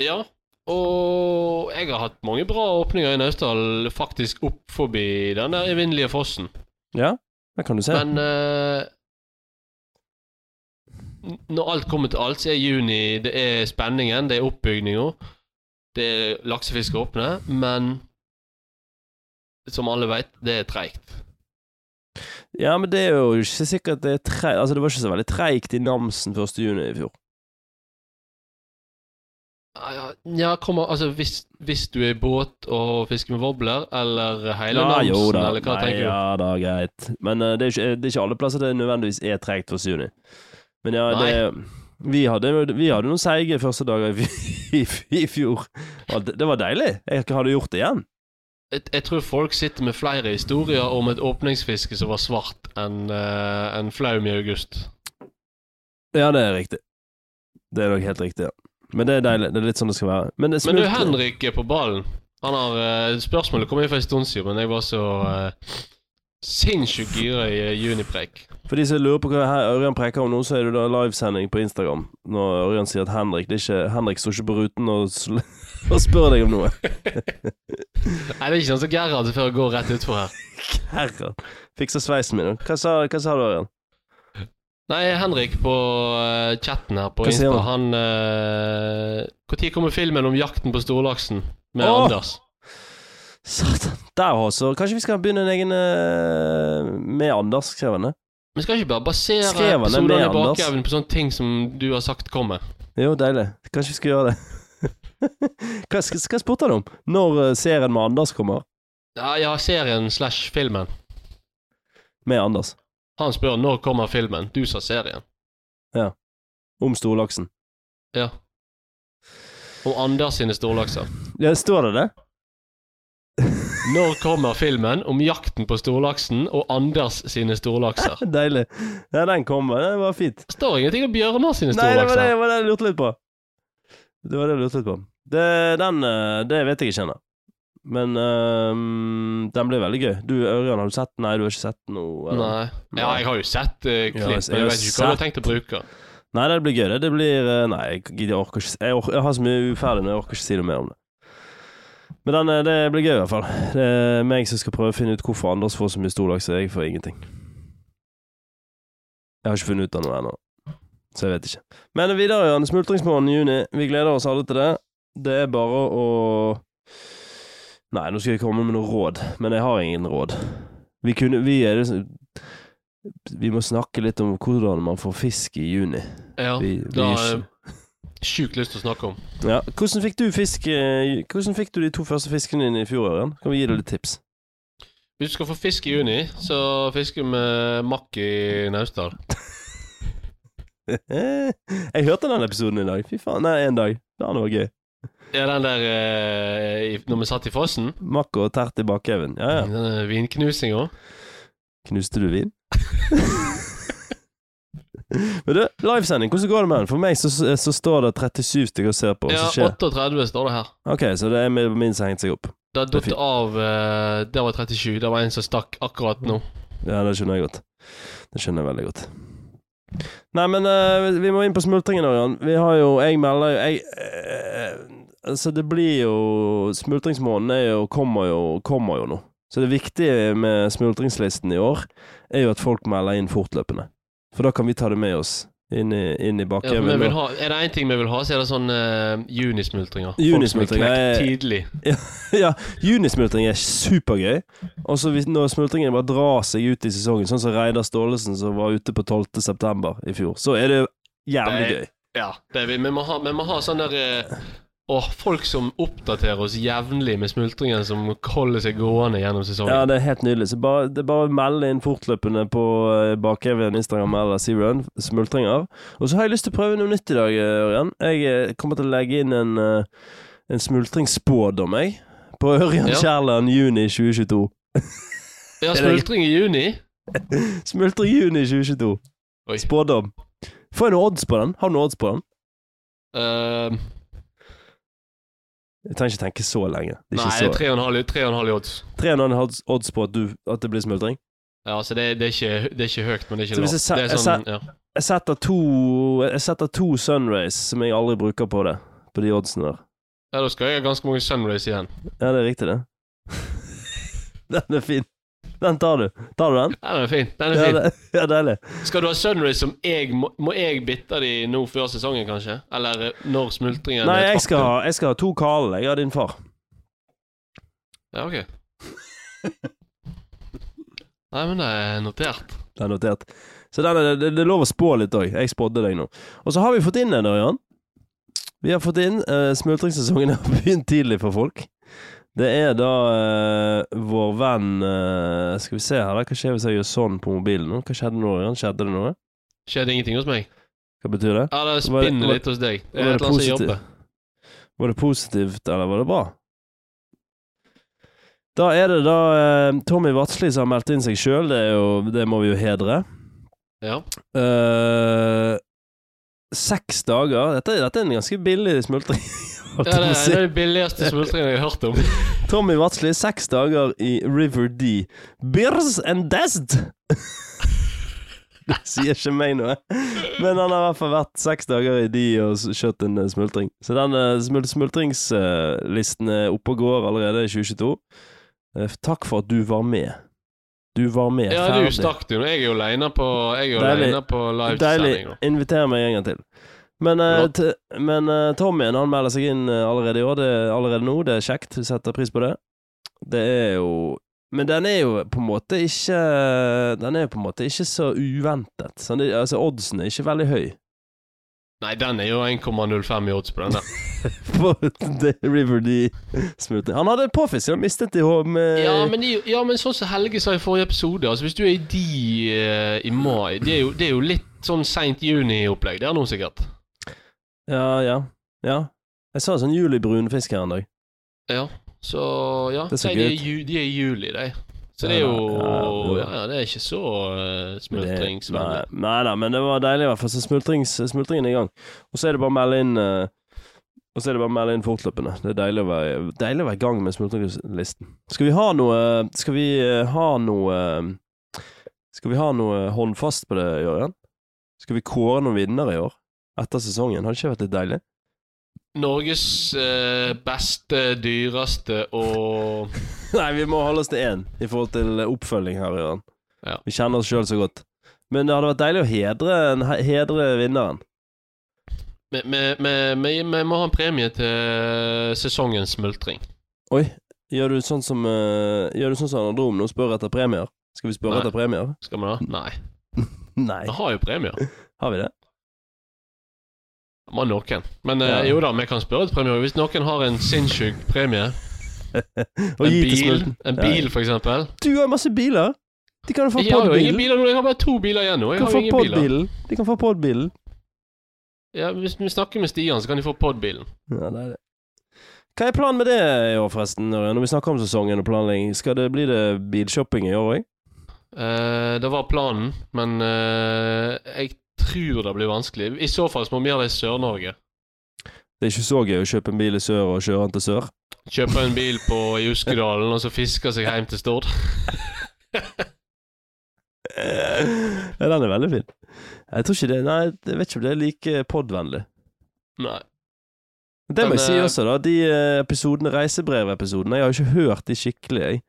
Speaker 2: Ja, og jeg har hatt mange bra åpninger i Naustdal, faktisk opp forbi den der evinnelige fossen.
Speaker 1: Ja, det kan du se.
Speaker 2: Men eh, n- når alt kommer til alt, så er juni Det er spenningen, det er oppbygninga, det er laksefiske åpne, men som alle veit, det er treigt.
Speaker 1: ja, men det er jo ikke sikkert det er treigt Altså, det var ikke så veldig treigt i Namsen 1. juni i fjor.
Speaker 2: Ja, ja, Ja, kommer, altså hvis, hvis du er i båt og fisker med wobbler, eller hele
Speaker 1: Ja,
Speaker 2: Namsen,
Speaker 1: jo da.
Speaker 2: eller hva
Speaker 1: Nei,
Speaker 2: tenker du?
Speaker 1: ja da, greit. Men eh, det, er ikke, det er ikke alle plasser det nødvendigvis er tregt for juni. Men ja,
Speaker 2: Nei.
Speaker 1: det vi hadde, vi hadde noen seige første dager i, fj- i, fj- i fjor. Og det, det var deilig. Jeg hadde gjort det igjen.
Speaker 2: Jeg, jeg tror folk sitter med flere historier om et åpningsfiske som var svart enn eh, enn flaum i august.
Speaker 1: Ja, det er riktig. Det er nok helt riktig, ja. Men det er deilig. Det er litt sånn det skal være. Men, det
Speaker 2: Men du,
Speaker 1: smulte-
Speaker 2: Henrik er på ballen. Han har eh, Spørsmålet kom inn for en stund siden, men jeg var så eh, sinnssykt gira i eh, junipreik.
Speaker 1: For de som lurer på hva her Ørjan preker om nå, så er det da livesending på Instagram. Når Ørjan sier at Henrik det er ikke, Henrik står ikke på ruten og, sl- og spør deg om noe.
Speaker 2: Nei, det er ikke sånn som Gerhard før jeg går rett utfor her.
Speaker 1: Herre. Fikser sveisen min. Hva sa, hva sa du, Ørjan?
Speaker 2: Nei, Henrik på eh, chatten her på
Speaker 1: Hva sier
Speaker 2: Insta, han eh,
Speaker 1: han?
Speaker 2: Når kommer filmen om jakten på storlaksen med
Speaker 1: Åh!
Speaker 2: Anders?
Speaker 1: Satan. Der også. Kanskje vi skal begynne en egen eh, med Anders, skrev han det.
Speaker 2: Vi skal ikke bare basere
Speaker 1: Skrev han det med
Speaker 2: episodene i
Speaker 1: Anders?
Speaker 2: bakevnen på sånne ting som du har sagt kommer.
Speaker 1: Jo, deilig. Kanskje vi skal gjøre det. hva, skal, hva spurte han om? Når eh, serien med Anders kommer?
Speaker 2: Ja, ja serien slash filmen.
Speaker 1: Med Anders.
Speaker 2: Han spør når kommer filmen. Du sa serien.
Speaker 1: Om storlaksen.
Speaker 2: Ja. Om Anders sine storlakser.
Speaker 1: Ja, står det det?
Speaker 2: Når kommer filmen om jakten på storlaksen og Anders sine storlakser?
Speaker 1: Deilig. Ja, den kommer. Det var fint.
Speaker 2: Det står ingenting om Bjørnar sine
Speaker 1: Nei, det var det,
Speaker 2: storlakser.
Speaker 1: det var det jeg lurte litt på. Det var det jeg lurte litt på. Det, den eh, Det vet jeg ikke ennå. Men eh, den blir veldig gøy. Du, Ørjan, har du sett den? Nei, du har ikke sett den nå? eller?
Speaker 2: Nei. Ja, jeg har jo sett uh,
Speaker 1: Ja,
Speaker 2: klipp,
Speaker 1: jeg
Speaker 2: men jeg
Speaker 1: har
Speaker 2: vet ikke hva du har
Speaker 1: sett-
Speaker 2: tenkt å bruke.
Speaker 1: Nei, det blir gøy. Det, det blir eh, Nei, jeg gidder- jeg orker ikke Jeg, orker, jeg har så mye uferdig nå, jeg orker ikke si noe mer om det. Men den, eh, det blir gøy, i hvert fall. Det er meg som skal prøve å finne ut hvorfor Anders får så mye storlaks, og jeg får ingenting. Jeg har ikke funnet ut av noe ennå, så jeg vet ikke. Men videre, Jan. Smultringsmåneden i juni. Vi gleder oss alle til det. Det er bare å Nei, nå skal jeg komme med noe råd, men jeg har ingen råd. Vi kunne Vi er liksom Vi må snakke litt om hvordan man får fisk i juni.
Speaker 2: Ja,
Speaker 1: Vi, vi
Speaker 2: da
Speaker 1: er
Speaker 2: er sjukt lyst til å snakke om.
Speaker 1: ikke- ja. Hvordan fikk du fisk eh, Hvordan fikk du de to første fiskene dine i fjor, Ørjan? Kan vi gi deg litt tips?
Speaker 2: Hvis du skal få fisk i juni, så fisker vi med makk i Naustdal.
Speaker 1: Eh, jeg hørte den episoden i dag. Fy faen. Nei, en dag. Ja, det var gøy.
Speaker 2: Ja, den der eh, i- når vi satt i fossen.
Speaker 1: Makk og tert i bakheven. Ja, ja.
Speaker 2: Denne vinknusinga.
Speaker 1: Knuste du vin? Men du, livesending, hvordan går det med den? For meg så, så står det 37 stykker og ser på. og
Speaker 2: Ja,
Speaker 1: så skjer.
Speaker 2: 38 står det her.
Speaker 1: Ok, så det er min min som har hengt seg opp.
Speaker 2: Det
Speaker 1: Det er
Speaker 2: datt
Speaker 1: fint.
Speaker 2: av eh, Det var 37. Det var en som stakk akkurat nå.
Speaker 1: Ja, det skjønner jeg godt. Det skjønner jeg veldig godt. Nei, men eh, vi må inn på smultringen, Ørjan. Vi har jo Jeg melder jo jeg, eh, Altså, det blir jo Smultringsmåneden er jo, kommer, jo, kommer jo nå. Så det viktige med smultringslisten i år er jo at folk melder inn fortløpende. For da kan vi ta det med oss inn i, inn i
Speaker 2: Ja, for vi
Speaker 1: bakgjeven.
Speaker 2: vil ha, er det én ting vi vil ha, så er det sånn eh, junismultringer.
Speaker 1: Junismultringer
Speaker 2: Folk som er
Speaker 1: er-
Speaker 2: knekt tidlig.
Speaker 1: ja, junismultring er supergøy. Og så hvis- når smultringen bare drar seg ut i sesongen, sånn som Reidar Staalesen som var ute på 12. september i fjor, så er det jævlig
Speaker 2: Det er-
Speaker 1: gøy.
Speaker 2: Ja, det vi, vi, må ha, vi må ha sånn der eh, åh, folk som oppdaterer oss jevnlig med smultringen som holder seg gående gjennom
Speaker 1: Ja,
Speaker 2: sesongen.
Speaker 1: det er helt nydelig. Så bare, det er bare å melde inn fortløpende på eh, bakheven Instagram eller Searun, smultringer. Og så har jeg lyst til å prøve noe nytt i dag, eh, Ørjan. Jeg eh, kommer til å legge inn en, eh, en smultringsspådom, jeg. På Ørjan
Speaker 2: Ja.
Speaker 1: Kjærland juni 2022. det er
Speaker 2: Ja,
Speaker 1: det-
Speaker 2: smultring i juni.
Speaker 1: Smultring juni 2022.
Speaker 2: Oi.
Speaker 1: Spådom. Får jeg noen odds på den? Har du noen odds på den?
Speaker 2: Eh,
Speaker 1: Jeg trenger ikke tenke så lenge. Det er
Speaker 2: nei, det er
Speaker 1: ikke så
Speaker 2: tre og en halv- tre og en halv i odds.
Speaker 1: Tre og en halv odds på at, du, at det blir smultring?
Speaker 2: Ja, altså det, det, er ikke, det er ikke høyt, men det er
Speaker 1: Så
Speaker 2: ikke
Speaker 1: hvis
Speaker 2: lavt.
Speaker 1: jeg sa-
Speaker 2: Det er
Speaker 1: jeg
Speaker 2: sånn, ja.
Speaker 1: Jeg setter to Jeg setter to sunrays som jeg aldri bruker på det. På de oddsene der.
Speaker 2: ja, da skal jeg ha ganske mange sunrays igjen.
Speaker 1: Ja, det er riktig, det. den er fin. Den tar du. Tar du den?
Speaker 2: Ja, den er fin. Den er
Speaker 1: Ja,
Speaker 2: fin.
Speaker 1: det, ja deilig.
Speaker 2: Skal du ha sunrays som jeg Må, må jeg bitte de nå før sesongen, kanskje? Eller eh, når smultringen
Speaker 1: Nei,
Speaker 2: er et
Speaker 1: jeg skal,
Speaker 2: faktum?
Speaker 1: ha, jeg skal ha to Karl. Jeg har din far.
Speaker 2: Ja, ok. Nei, men det er notert.
Speaker 1: Det er notert. Så den er, det, det er lov å spå litt òg. Jeg spådde deg nå. Og så har vi fått inn en, Ørjan. Vi har fått inn eh, Smultringssesongen har begynt tidlig for folk. Det er da eh, vår venn eh, Skal vi se her, da. Hva skjer hvis jeg gjør sånn på mobilen nå? Hva skjedde nå, Ørjan? Skjedde det noe?
Speaker 2: Skjedde ingenting hos meg?
Speaker 1: Hva betyr det?
Speaker 2: Ja, det
Speaker 1: Var det-
Speaker 2: spinner
Speaker 1: var-
Speaker 2: litt hos deg. Det
Speaker 1: var
Speaker 2: er
Speaker 1: det
Speaker 2: et eller annet som
Speaker 1: positivt?
Speaker 2: jobber.
Speaker 1: Var det positivt, eller var det bra? Da er det da eh, Tommy Vatsli som har meldt inn seg sjøl, det, er jo- det må vi jo hedre.
Speaker 2: Ja.
Speaker 1: Eh, seks dager dette, dette er en ganske billig smultring. holdt jeg
Speaker 2: ja, det
Speaker 1: på å si.
Speaker 2: er det billigste smultringen jeg har hørt om.
Speaker 1: Tommy Vatsli, seks dager i River D. Beers and dest! det sier ikke meg noe. Men han har i hvert fall vært seks dager i de og s- kjørt en eh, smultring. Så den eh, smul smultringslisten eh, er oppe og går allerede i 2022. Eh, Takk for at du var med. Du var med.
Speaker 2: Ja, du stakk det jo. Jeg er jo aleine på, jeg er jo
Speaker 1: Deilig.
Speaker 2: alene på
Speaker 1: Deilig.
Speaker 2: livesending nå.
Speaker 1: Inviter meg en gang til. Men, eh,
Speaker 2: Flott.
Speaker 1: t men eh, Tommyen han melder seg inn eh, allerede i år. Det er allerede nå. Det er kjekt. Vi setter pris på det. Det er jo Men den er jo på en måte ikke Den er jo på en måte ikke så uventet. Sånn, det, altså, oddsen er ikke veldig høy.
Speaker 2: Nei, den er jo 1,05 i odds på den der.
Speaker 1: På The River D-smoothing. Han hadde påfisk. Han mistet det i hår med
Speaker 2: Ja, men, i- ja, men sånn som Helge sa i forrige episode, altså hvis du er i de eh, i mai Det er jo, det er jo litt sånn seint juni-opplegg. Det er noe sikkert.
Speaker 1: ja, ja. ja. Jeg så en sånn julibrun fisk her en dag.
Speaker 2: Ja. Så ja.
Speaker 1: Det er så
Speaker 2: Nei, de, er
Speaker 1: good.
Speaker 2: ju, de er i juli, de. Så det er
Speaker 1: Ja, ja,
Speaker 2: jo Ja, ja det er ikke så uh,
Speaker 1: Men det-
Speaker 2: smultringsvennlig.
Speaker 1: Nei, nei da, men det var deilig i hvert fall. Så smultrings, smultringen er i gang. Og så er det bare å melde inn eh, Og så er det bare å melde inn fortløpende. Det er deilig å være, deilig å være i gang med smultringslisten. Skal vi ha noe Skal vi eh, ha noe eh, Skal vi ha noe håndfast på det, Jørgen? Skal vi kåre noen vinnere i år? Etter sesongen? Hadde ikke det vært litt deilig?
Speaker 2: Norges eh, beste, dyreste og
Speaker 1: Nei, vi må holde oss til én i forhold til oppfølging her, Jørgen.
Speaker 2: Ja.
Speaker 1: Vi kjenner oss sjøl så godt. Men det hadde vært deilig å hedre, hedre vinneren.
Speaker 2: Vi- vi- Vi vi- vi må ha en premie til eh, sesongens smultring.
Speaker 1: Oi, gjør du sånn som eh, Gjør du sånn som Anadrom nå, spør etter premier? Skal vi spørre
Speaker 2: Nei.
Speaker 1: etter premier?
Speaker 2: Skal vi det? Nei.
Speaker 1: Nei.
Speaker 2: Vi har jo premier.
Speaker 1: Har vi det?
Speaker 2: Vi har noen. Men eh,
Speaker 1: Ja.
Speaker 2: jo da, vi kan spørre etter premier. Hvis noen har en sinnssyk premie,
Speaker 1: Og
Speaker 2: en
Speaker 1: gi til
Speaker 2: bil,
Speaker 1: smulten.
Speaker 2: en
Speaker 1: Ja,
Speaker 2: bil for eksempel
Speaker 1: Du har jo masse biler! De kan jo få
Speaker 2: Jeg har jo ingen
Speaker 1: podbilen.
Speaker 2: biler nå, jeg har bare to biler igjen nå.
Speaker 1: De
Speaker 2: Jeg
Speaker 1: kan
Speaker 2: har jo
Speaker 1: få
Speaker 2: ingen biler.
Speaker 1: podbilen. De kan få podbilen.
Speaker 2: Ja, hvis vi snakker med Stian, så kan de få podbilen.
Speaker 1: Ja, det er det. Hva er planen med det i år, forresten? Ørjan? Når vi snakker om sesongen og planlegging, skal det bli det bilshopping i år òg?
Speaker 2: Eh, det var planen, men eh, jeg tror det blir vanskelig. I så fall så må vi gjøre det i Sør-Norge.
Speaker 1: Det er ikke så gøy å kjøpe en bil i sør og kjøre den til sør.
Speaker 2: Kjøpe en bil på i Uskedalen, og så fiske seg hjem til Stord.
Speaker 1: Ja, den er veldig fin. Jeg tror ikke det Nei, jeg vet ikke om det er like podvennlig.
Speaker 2: Nei.
Speaker 1: Det må
Speaker 2: Men,
Speaker 1: jeg si
Speaker 2: eh,
Speaker 1: også, da. De eh, episodene, reisebrevepisodene, jeg har ikke hørt de skikkelig, jeg.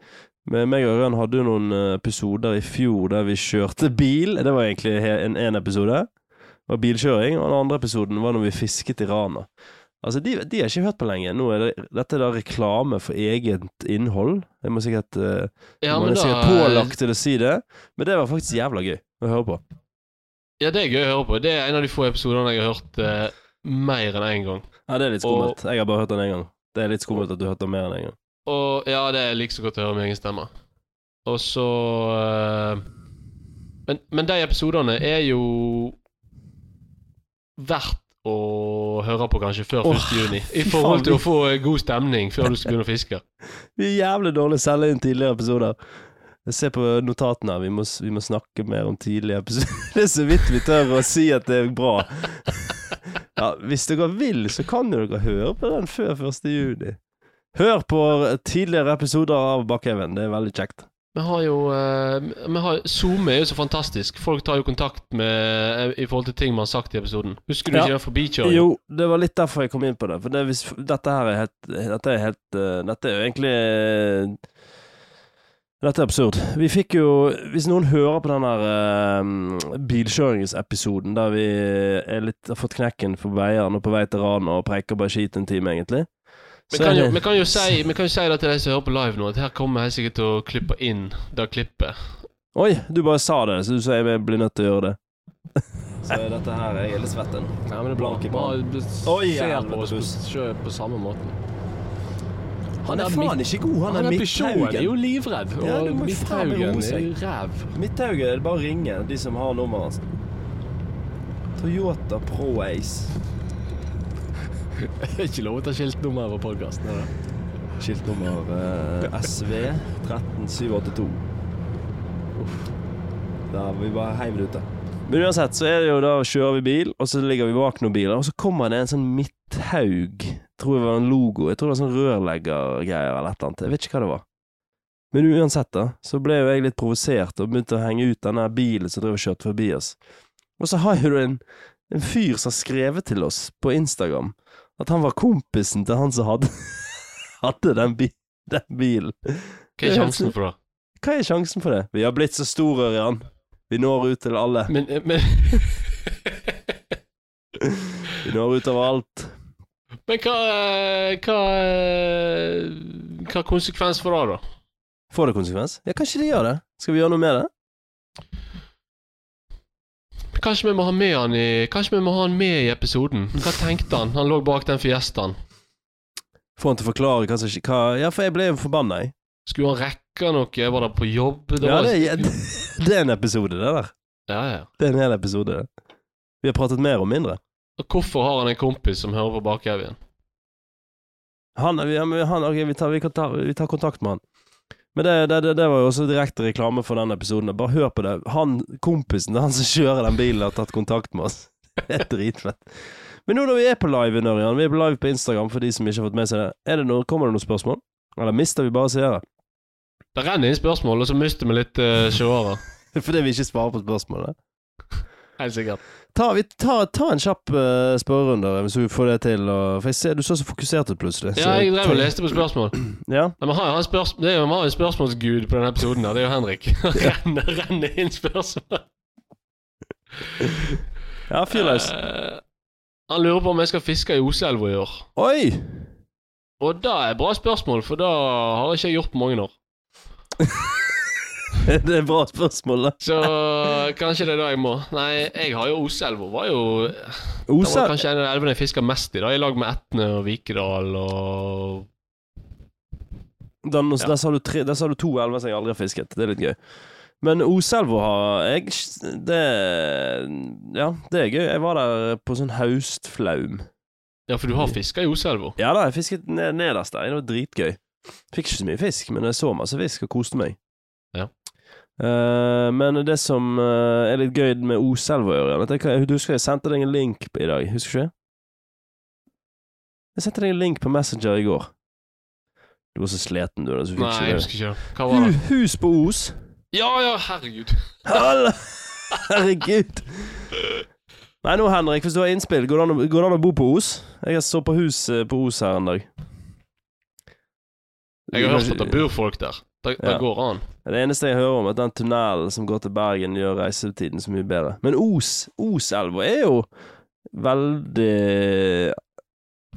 Speaker 1: Men meg og Ørjan hadde jo noen eh, episoder i fjor der vi kjørte bil. Det var egentlig he- en, en episode. Det var bilkjøring. Og den andre episoden var når vi fisket i Rana. Altså, de, de har jeg ikke hørt på lenge. Nå er det, dette er da reklame for eget innhold. Jeg må sikkert eh,
Speaker 2: Ja,
Speaker 1: Man
Speaker 2: men
Speaker 1: er sikkert
Speaker 2: da eh,
Speaker 1: pålagt til å si det, men det var faktisk jævla gøy å høre på.
Speaker 2: Ja, det er gøy å høre på. Det er en av de få episodene jeg har hørt eh, mer enn én gang.
Speaker 1: Ja, det er litt skummelt. Jeg har bare hørt den én gang. Det er litt skummelt at du har hørt den mer enn én en gang.
Speaker 2: Og ja, det er like så godt å høre min egen stemme. Og så eh, men, men de episodene er jo verdt å høre på kanskje før
Speaker 1: Åh,
Speaker 2: 1. juni. I
Speaker 1: fy faen,
Speaker 2: forhold til
Speaker 1: vi-
Speaker 2: å få eh, god stemning før du skal begynne å fiske.
Speaker 1: Vi er jævlig dårlig å selge inn tidligere episoder. Se på notatene. her. Vi må, vi må snakke mer om tidligere episoder. Det er så vidt vi tør å si at det er bra. Ja, hvis dere vil, så kan jo dere høre på den før 1. juni. Hør på tidligere episoder av Bakkhaven. Det er veldig kjekt.
Speaker 2: Vi har jo eh, vi har, Zoom er jo så fantastisk. Folk tar jo kontakt med eh, i forhold til ting man har sagt i episoden. Husker du
Speaker 1: Ja.
Speaker 2: ikke den forbikjøringen?
Speaker 1: Jo, det var litt derfor jeg kom inn på det. For det, hvis, dette her er helt Dette er helt eh, Dette er jo egentlig eh, Dette er absurd. Vi fikk jo Hvis noen hører på den her eh, bilkjøringsepisoden der vi er litt, har fått knekken for veiene og på vei til Rana og preiker bare skit en time, egentlig
Speaker 2: Vi
Speaker 1: så
Speaker 2: kan,
Speaker 1: er
Speaker 2: jo,
Speaker 1: det-
Speaker 2: vi, kan jo si, vi kan jo si det til de som hører på live nå, at her kommer jeg sikkert til å klippe inn det klippet.
Speaker 1: Oi, du bare sa det, så du sier jeg blir nødt til å gjøre det. så dette her Jeg er litt svett ennå. Nei, men det Oi, ser på helvete, oss på- buss.
Speaker 3: på samme måten.
Speaker 1: Han er faen ikke god, han
Speaker 3: Han
Speaker 1: er
Speaker 3: er Peugeot, er
Speaker 1: Midthaugen.
Speaker 3: jo livredd.
Speaker 1: Ja, det
Speaker 3: Og
Speaker 1: må jo faen meg roe
Speaker 3: Midthaugen er
Speaker 1: seg.
Speaker 3: ræv.
Speaker 1: Midthaugen er det bare å ringe, de som har nummeret hans. Toyota Pro Ace.
Speaker 3: Det er ikke lov å ta skiltnummer på podkasten.
Speaker 1: Skilt nummer eh, SV 13782. Da er vi bare heiv det ut, da. Men uansett, så er det jo da kjører vi bil, og så ligger vi bak noen biler, og så kommer det en sånn Midthaug. Tror jeg var en logo. Jeg tror det var sånn rørleggergreier eller et eller annet. Jeg vet ikke hva det var. Men uansett, da, så ble jo jeg litt provosert og begynte å henge ut denne bilen som drev og kjørte forbi oss. Og så har jo du en, en fyr som har skrevet til oss på Instagram at han var kompisen til han som hadde hadde den, bi den bilen.
Speaker 2: Hva er sjansen for det?
Speaker 1: Hva er sjansen for det? Vi har blitt så store, Ørjan. Vi når ut til alle.
Speaker 2: Men, eh, men,
Speaker 1: Vi når ut overalt.
Speaker 2: men hva, eh, hva eh, Hva konsekvens for det, da?
Speaker 1: Får det konsekvens? Ja, kanskje de gjør det. Skal vi gjøre noe med det?
Speaker 2: Kanskje vi må ha med han i Kanskje vi må ha han med i episoden? Hva tenkte han? Han lå bak den fiestaen.
Speaker 1: Får han til å forklare hva som skj- hva... Ja, for jeg ble jo forbanna, jeg.
Speaker 2: Skulle han rekke noe? Var det på jobb?
Speaker 1: Ja,
Speaker 2: var-
Speaker 1: det, er- det er en episode, det der.
Speaker 2: ja, ja.
Speaker 1: Det er en hel episode, det. Vi har pratet mer og mindre.
Speaker 2: Og hvorfor har han en kompis som hører på Bakhaugen?
Speaker 1: Han, vi, han, ok, vi, tar, vi, kan ta, vi tar kontakt med han. Men det, det, det, det var jo også direkte reklame for den episoden. Bare hør på det. Han kompisen, han som kjører den bilen, har tatt kontakt med oss. Det er dritfett. Men nå når vi er på live, Nørjan, vi er på live på Instagram for de som ikke har fått med seg det, er det noe, kommer det noen spørsmål? Eller mister vi bare seere?
Speaker 2: Det renner inn spørsmål, og så mister vi litt uh, seere.
Speaker 1: Fordi vi ikke svarer på spørsmålet?
Speaker 2: Helt sikkert.
Speaker 1: Ta, vi, ta, ta en kjapp eh, spørrerunde, hvis du får det til. Og, for jeg ser, du så så fokusert ut plutselig.
Speaker 2: Ja, jeg drev
Speaker 1: ta-
Speaker 2: og leste på spørsmål.
Speaker 1: Ja,
Speaker 2: Nei, men han, han, spørs, det er jo, han har jo en spørsmålsgud på denne episoden. her, Det er jo Henrik. Han renner, renner inn spørsmål.
Speaker 1: ja fyr løs.
Speaker 2: Eh, han lurer på om jeg skal fiske i Oselva i år.
Speaker 1: Oi!
Speaker 2: Og da er bra spørsmål, for da har ikke jeg gjort på mange år.
Speaker 1: det er et bra spørsmål, da.
Speaker 2: Så kanskje det er da jeg må. Nei, jeg har jo Oselva. Var jo Det var
Speaker 1: Osel...
Speaker 2: kanskje en av elvene jeg fiska mest i, da, i lag med Etne og Vikedal og
Speaker 1: Den,
Speaker 2: Ja.
Speaker 1: der, sa du tre, der sa du to elver som jeg aldri har fisket. Det er litt gøy. Men Oselva har jeg Det Ja, det er gøy. Jeg var der på sånn haustflaum.
Speaker 2: Ja, for du har fiska i Oselva?
Speaker 1: Ja da, jeg fisket ned, nederst der. Det var dritgøy. Fikk ikke så mye fisk, men jeg så masse fisk og koste meg.
Speaker 2: Ja.
Speaker 1: Eh, men det som eh, er litt gøy med Oselva, Ørjan at jeg kan- Du husker jeg sendte deg en link i dag, husker du ikke? Jeg sendte deg en link på Messenger i går. Du var så sliten, du. da, Så du fikk
Speaker 2: Nei, jeg
Speaker 1: ikke det.
Speaker 2: husker ikke. Hva var det?
Speaker 1: Hu- Hus på Os.
Speaker 2: Ja, ja, herregud.
Speaker 1: Halla! Herregud. Nei, nå, Henrik, hvis du har innspill, går det an å, går det an å bo på Os? Jeg så på hus eh, på Os her en dag.
Speaker 2: Jeg har hørt at det bor folk der. Det, det
Speaker 1: Ja.
Speaker 2: går an.
Speaker 1: Det eneste jeg hører om, er at den tunnelen som går til Bergen, gjør reisetiden så mye bedre. Men Os, Oselva er jo veldig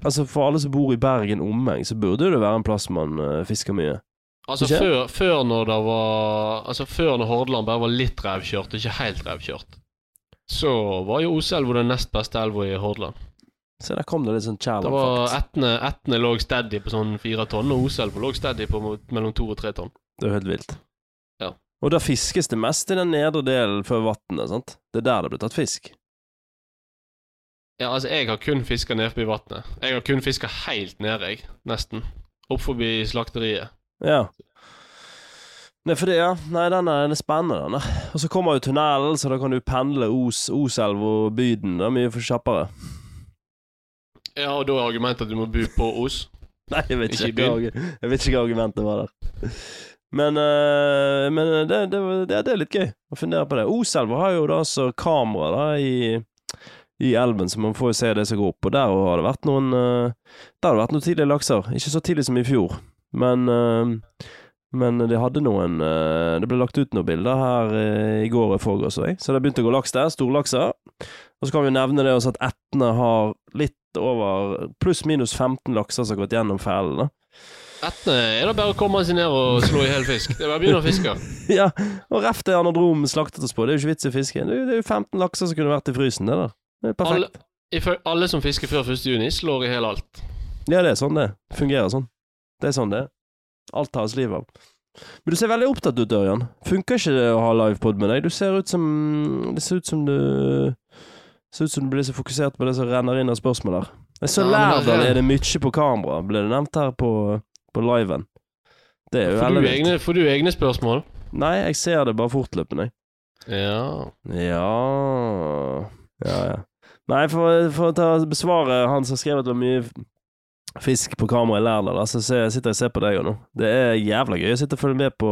Speaker 1: Altså, for alle som bor i Bergen omheng, så burde det være en plass man eh, fisker mye.
Speaker 2: Altså
Speaker 1: Ikke?
Speaker 2: før, før når det var Altså før når Hordaland bare var litt revkjørt, ikke helt revkjørt, så var jo Oselva den nest beste elva i Hordaland.
Speaker 1: Så der kom det litt sånn
Speaker 2: Det
Speaker 1: kjærlighet,
Speaker 2: var
Speaker 1: faktisk.
Speaker 2: Etne, Etne lå steady på sånn fire tonn, og Oselva lå steady på mot- mellom to og tre tonn.
Speaker 1: Det er jo helt vilt.
Speaker 2: Ja.
Speaker 1: Og da fiskes det mest i den nedre delen før vannet, sant? Det er der det blir tatt fisk.
Speaker 2: Ja, altså, jeg har kun fiska nede forbi vannet. Jeg har kun fiska helt nede, jeg. Nesten. Opp forbi slakteriet.
Speaker 1: Ja. Nei, for det, ja. Nei, den er, den er spennende, den der. Og så kommer jo tunnelen, så da kan du pendle Os, Oselv og Byden. Det er mye for kjappere.
Speaker 2: Ja, og da er argumentet at du må bo på Os.
Speaker 1: Nei, jeg vet
Speaker 2: Ikke i
Speaker 1: ikke, hva, argu- jeg vet ikke hva argumentet var der. Men, eh, men det, det, var- det, det er litt gøy å fundere på det. Oselva har jo da altså kamera da, i, i elven, så man får jo se det som går opp. Og der har det vært noen eh, Der har det vært noen tidlige lakser. Ikke så tidlig som i fjor, men eh, men de hadde noen eh, Det ble lagt ut noen bilder her eh, i går og i forgårs, så jeg. Så det begynte å gå laks der. Storlakser. Og så kan vi nevne det også at Etne har litt over pluss-minus 15 lakser som har gått gjennom fælen. da.
Speaker 2: Etne er det bare å komme seg ned og slå i hel fisk. Det er bare å begynne å fiske.
Speaker 1: ja, og ref det anadrom slaktet oss på. Det er jo ikke vits i å fiske. Det er jo- det er jo 15 lakser som kunne vært i frysen, det der. Det er perfekt.
Speaker 2: Alle, ifø- alle som fisker før 1. juni, slår i hel alt.
Speaker 1: Ja, det er sånn det fungerer sånn. Det er sånn det er. Alt tas livet av. Men du ser veldig opptatt ut, Ørjan. Funker ikke det å ha livepod med deg? Du ser ut som Det ser ut som du Ser ut som du blir så fokusert på det som renner inn av spørsmål der. Jeg så
Speaker 2: Ja, men det er-
Speaker 1: Lærdal er det mye på kamera, ble det nevnt her på, på liven. Det er jo
Speaker 2: Får
Speaker 1: veldig
Speaker 2: du,
Speaker 1: vilt.
Speaker 2: egne, får du egne spørsmål?
Speaker 1: Nei, jeg ser det bare fortløpende, jeg.
Speaker 2: Ja.
Speaker 1: Ja Ja, ja. Nei, for, for å ta, besvare han som skrev at det var mye fisk på kamera i Lærdal, altså, så jeg sitter jeg og ser på deg jo nå. Det er jævla gøy å sitte og følge med på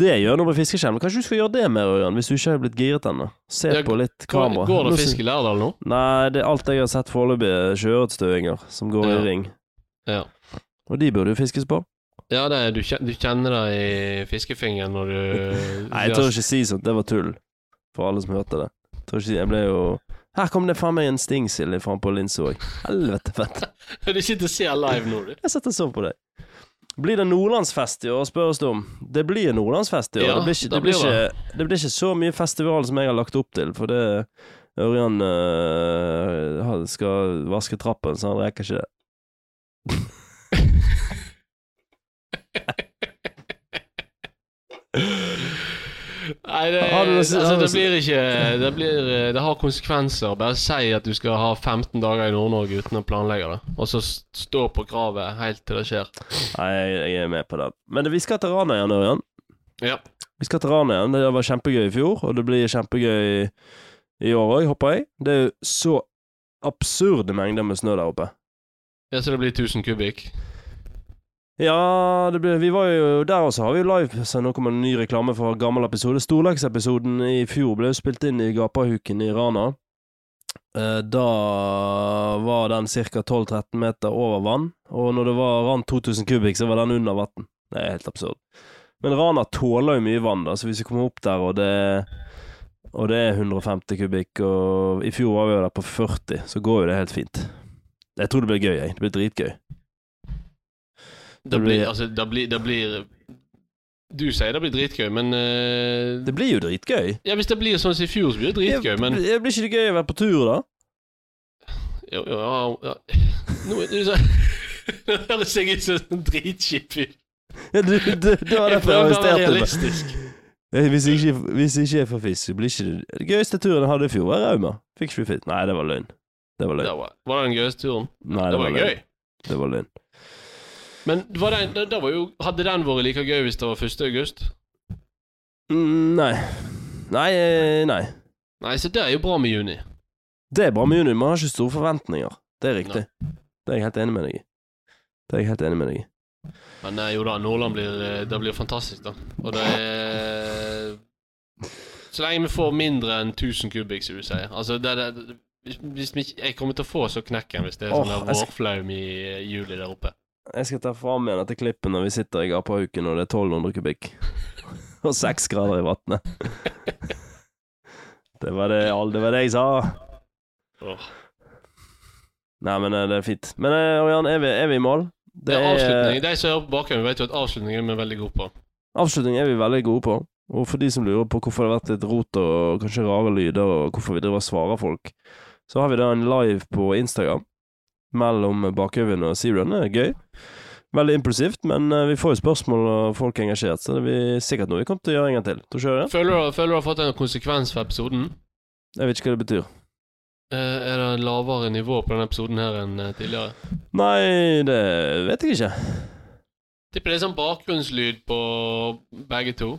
Speaker 1: det jeg gjør nå med fiskeskjerm. Kanskje du skal gjøre det mer, Ørjan, hvis du ikke har blitt giret ennå. Se
Speaker 2: Ja,
Speaker 1: på litt
Speaker 2: Går,
Speaker 1: kamera.
Speaker 2: går
Speaker 1: Nå
Speaker 2: det
Speaker 1: sy-
Speaker 2: fisk i Lærdal nå?
Speaker 1: Nei, det er alt jeg har sett foreløpig, er sjøørretstøinger som går
Speaker 2: Ja.
Speaker 1: i ring.
Speaker 2: Ja.
Speaker 1: Og de burde jo fiskes på.
Speaker 2: Ja, det, er- du, kjen- du kjenner det i fiskefingeren når du
Speaker 1: Nei, jeg tør ikke si sånt. Det var tull. For alle som hørte det. Jeg Tør ikke si Jeg ble jo Her kom det faen meg en stingsild faen på linsa òg. Helvete fett.
Speaker 2: Du sitter og ser live nå, du.
Speaker 1: Jeg satt og så på deg. Blir det nordlandsfest i år, spørres det om. Det blir nordlandsfest i år.
Speaker 2: Ja,
Speaker 1: det, blir ikke,
Speaker 2: da
Speaker 1: det, blir
Speaker 2: blir
Speaker 1: ikke, det blir ikke så mye festival som jeg har lagt opp til, for det Ørjan øh, han skal vaske trappen, så han rekker ikke det.
Speaker 2: Nei, det,
Speaker 1: Har du noe å si-
Speaker 2: altså,
Speaker 1: har du noe
Speaker 2: det
Speaker 1: å si-
Speaker 2: blir ikke det, blir, eh, det har konsekvenser. Bare si at du skal ha 15 dager i Nord-Norge uten å planlegge det, og så s- stå på kravet helt til det skjer.
Speaker 1: Nei, jeg, jeg er med på den. Men vi skal til Rana igjen, Ørjan.
Speaker 2: Ja.
Speaker 1: Vi skal til Rana igjen. Det var kjempegøy i fjor, og det blir kjempegøy i år òg, håper jeg. Det er jo så absurde mengder med snø der oppe.
Speaker 2: ja, så det blir 1000 kubikk.
Speaker 1: Ja, det ble, vi var jo der også, har vi jo live. Så nå kommer en ny reklame fra gammel episode. Storlaksepisoden i fjor ble jo spilt inn i Gapahuken i Rana. Eh, Da var den ca. 12-13 meter over vann, og når det var rant 2000 kubikk, så var den under vann. Det er helt absurd. Men Rana tåler jo mye vann, da, så hvis vi kommer opp der, og det, og det er 150 kubikk, og i fjor var vi jo der på 40, så går jo det helt fint. Jeg tror det blir gøy, jeg. Det blir dritgøy.
Speaker 2: Det
Speaker 1: Det blir-
Speaker 2: blir, altså, det blir, det blir Du sier det blir dritgøy, men eh,
Speaker 1: Det blir jo dritgøy.
Speaker 2: Ja, hvis det blir sånn som i fjor, så blir det dritgøy, men
Speaker 1: Ja, Blir ikke det gøy å være på tur, da?
Speaker 2: Ja, ja, ja. Nå er det så Det høres jeg ut som en dritskip fyr.
Speaker 1: Ja, du, du, det var derfor
Speaker 2: Jeg
Speaker 1: jeg
Speaker 2: prøver å være
Speaker 1: arresterte meg.
Speaker 2: realistisk.
Speaker 1: Eh, Hvis jeg ikke, hvis jeg ikke er for fisk, så blir ikke det Den gøyeste turen jeg hadde i fjor, var Rauma. Fikk ikke vi fisk. Nei, det var løgn. Det var løgn.
Speaker 2: Det var, var det den gøyeste turen?
Speaker 1: Nei,
Speaker 2: Det var
Speaker 1: løgn.
Speaker 2: gøy.
Speaker 1: Det var løgn.
Speaker 2: Men var den, det, det var jo, hadde den vært like gøy hvis det var 1. august?
Speaker 1: Mm, nei. Nei, eh, nei.
Speaker 2: Nei, så det er jo bra med juni.
Speaker 1: Det er bra med juni. Man har ikke store forventninger. Det er riktig. Det er jeg helt enig med deg i. Det er jeg helt enig med deg i.
Speaker 2: Men eh, jo da, Nordland blir, eh, det blir fantastisk, da. Og det er Så lenge vi får mindre enn 1000 kubikk, som du sier. Altså, det, det, hvis, hvis vi ikke, jeg kommer til å få så knekken hvis det er
Speaker 1: Åh,
Speaker 2: sånn der
Speaker 1: jeg skal-
Speaker 2: vårflaum i eh, juli der oppe.
Speaker 1: Jeg skal ta fram igjen dette klippet når vi sitter i gapahuken og det er 1200 kubikk. og seks grader i vannet. det, var det, all- det var det jeg sa.
Speaker 2: Åh.
Speaker 1: Nei, men eh, det er fint. Men eh, Ørjan, er, vi- er vi i mål?
Speaker 2: Det er avslutning. De som hører på bakgrunnen, vet jo at avslutning er vi veldig gode på.
Speaker 1: Avslutning er vi veldig gode på. Og for de som lurer på hvorfor det har vært litt rot og kanskje rare lyder, og hvorfor vi driver og svarer folk, så har vi da en live på Instagram mellom Bakøyvind og Zerun. Det er gøy. Veldig impulsivt, men eh, vi får jo spørsmål og folk er engasjert, så det blir sikkert noe vi kommer til å gjøre en gang til. Tror ikke du det?
Speaker 2: Føler du, føler du har fått en konsekvens for episoden?
Speaker 1: Jeg vet ikke hva det betyr.
Speaker 2: Eh, er det en lavere nivå på denne episoden her enn eh, tidligere?
Speaker 1: Nei, det vet jeg ikke.
Speaker 2: Tipper det er sånn bakgrunnslyd på begge to.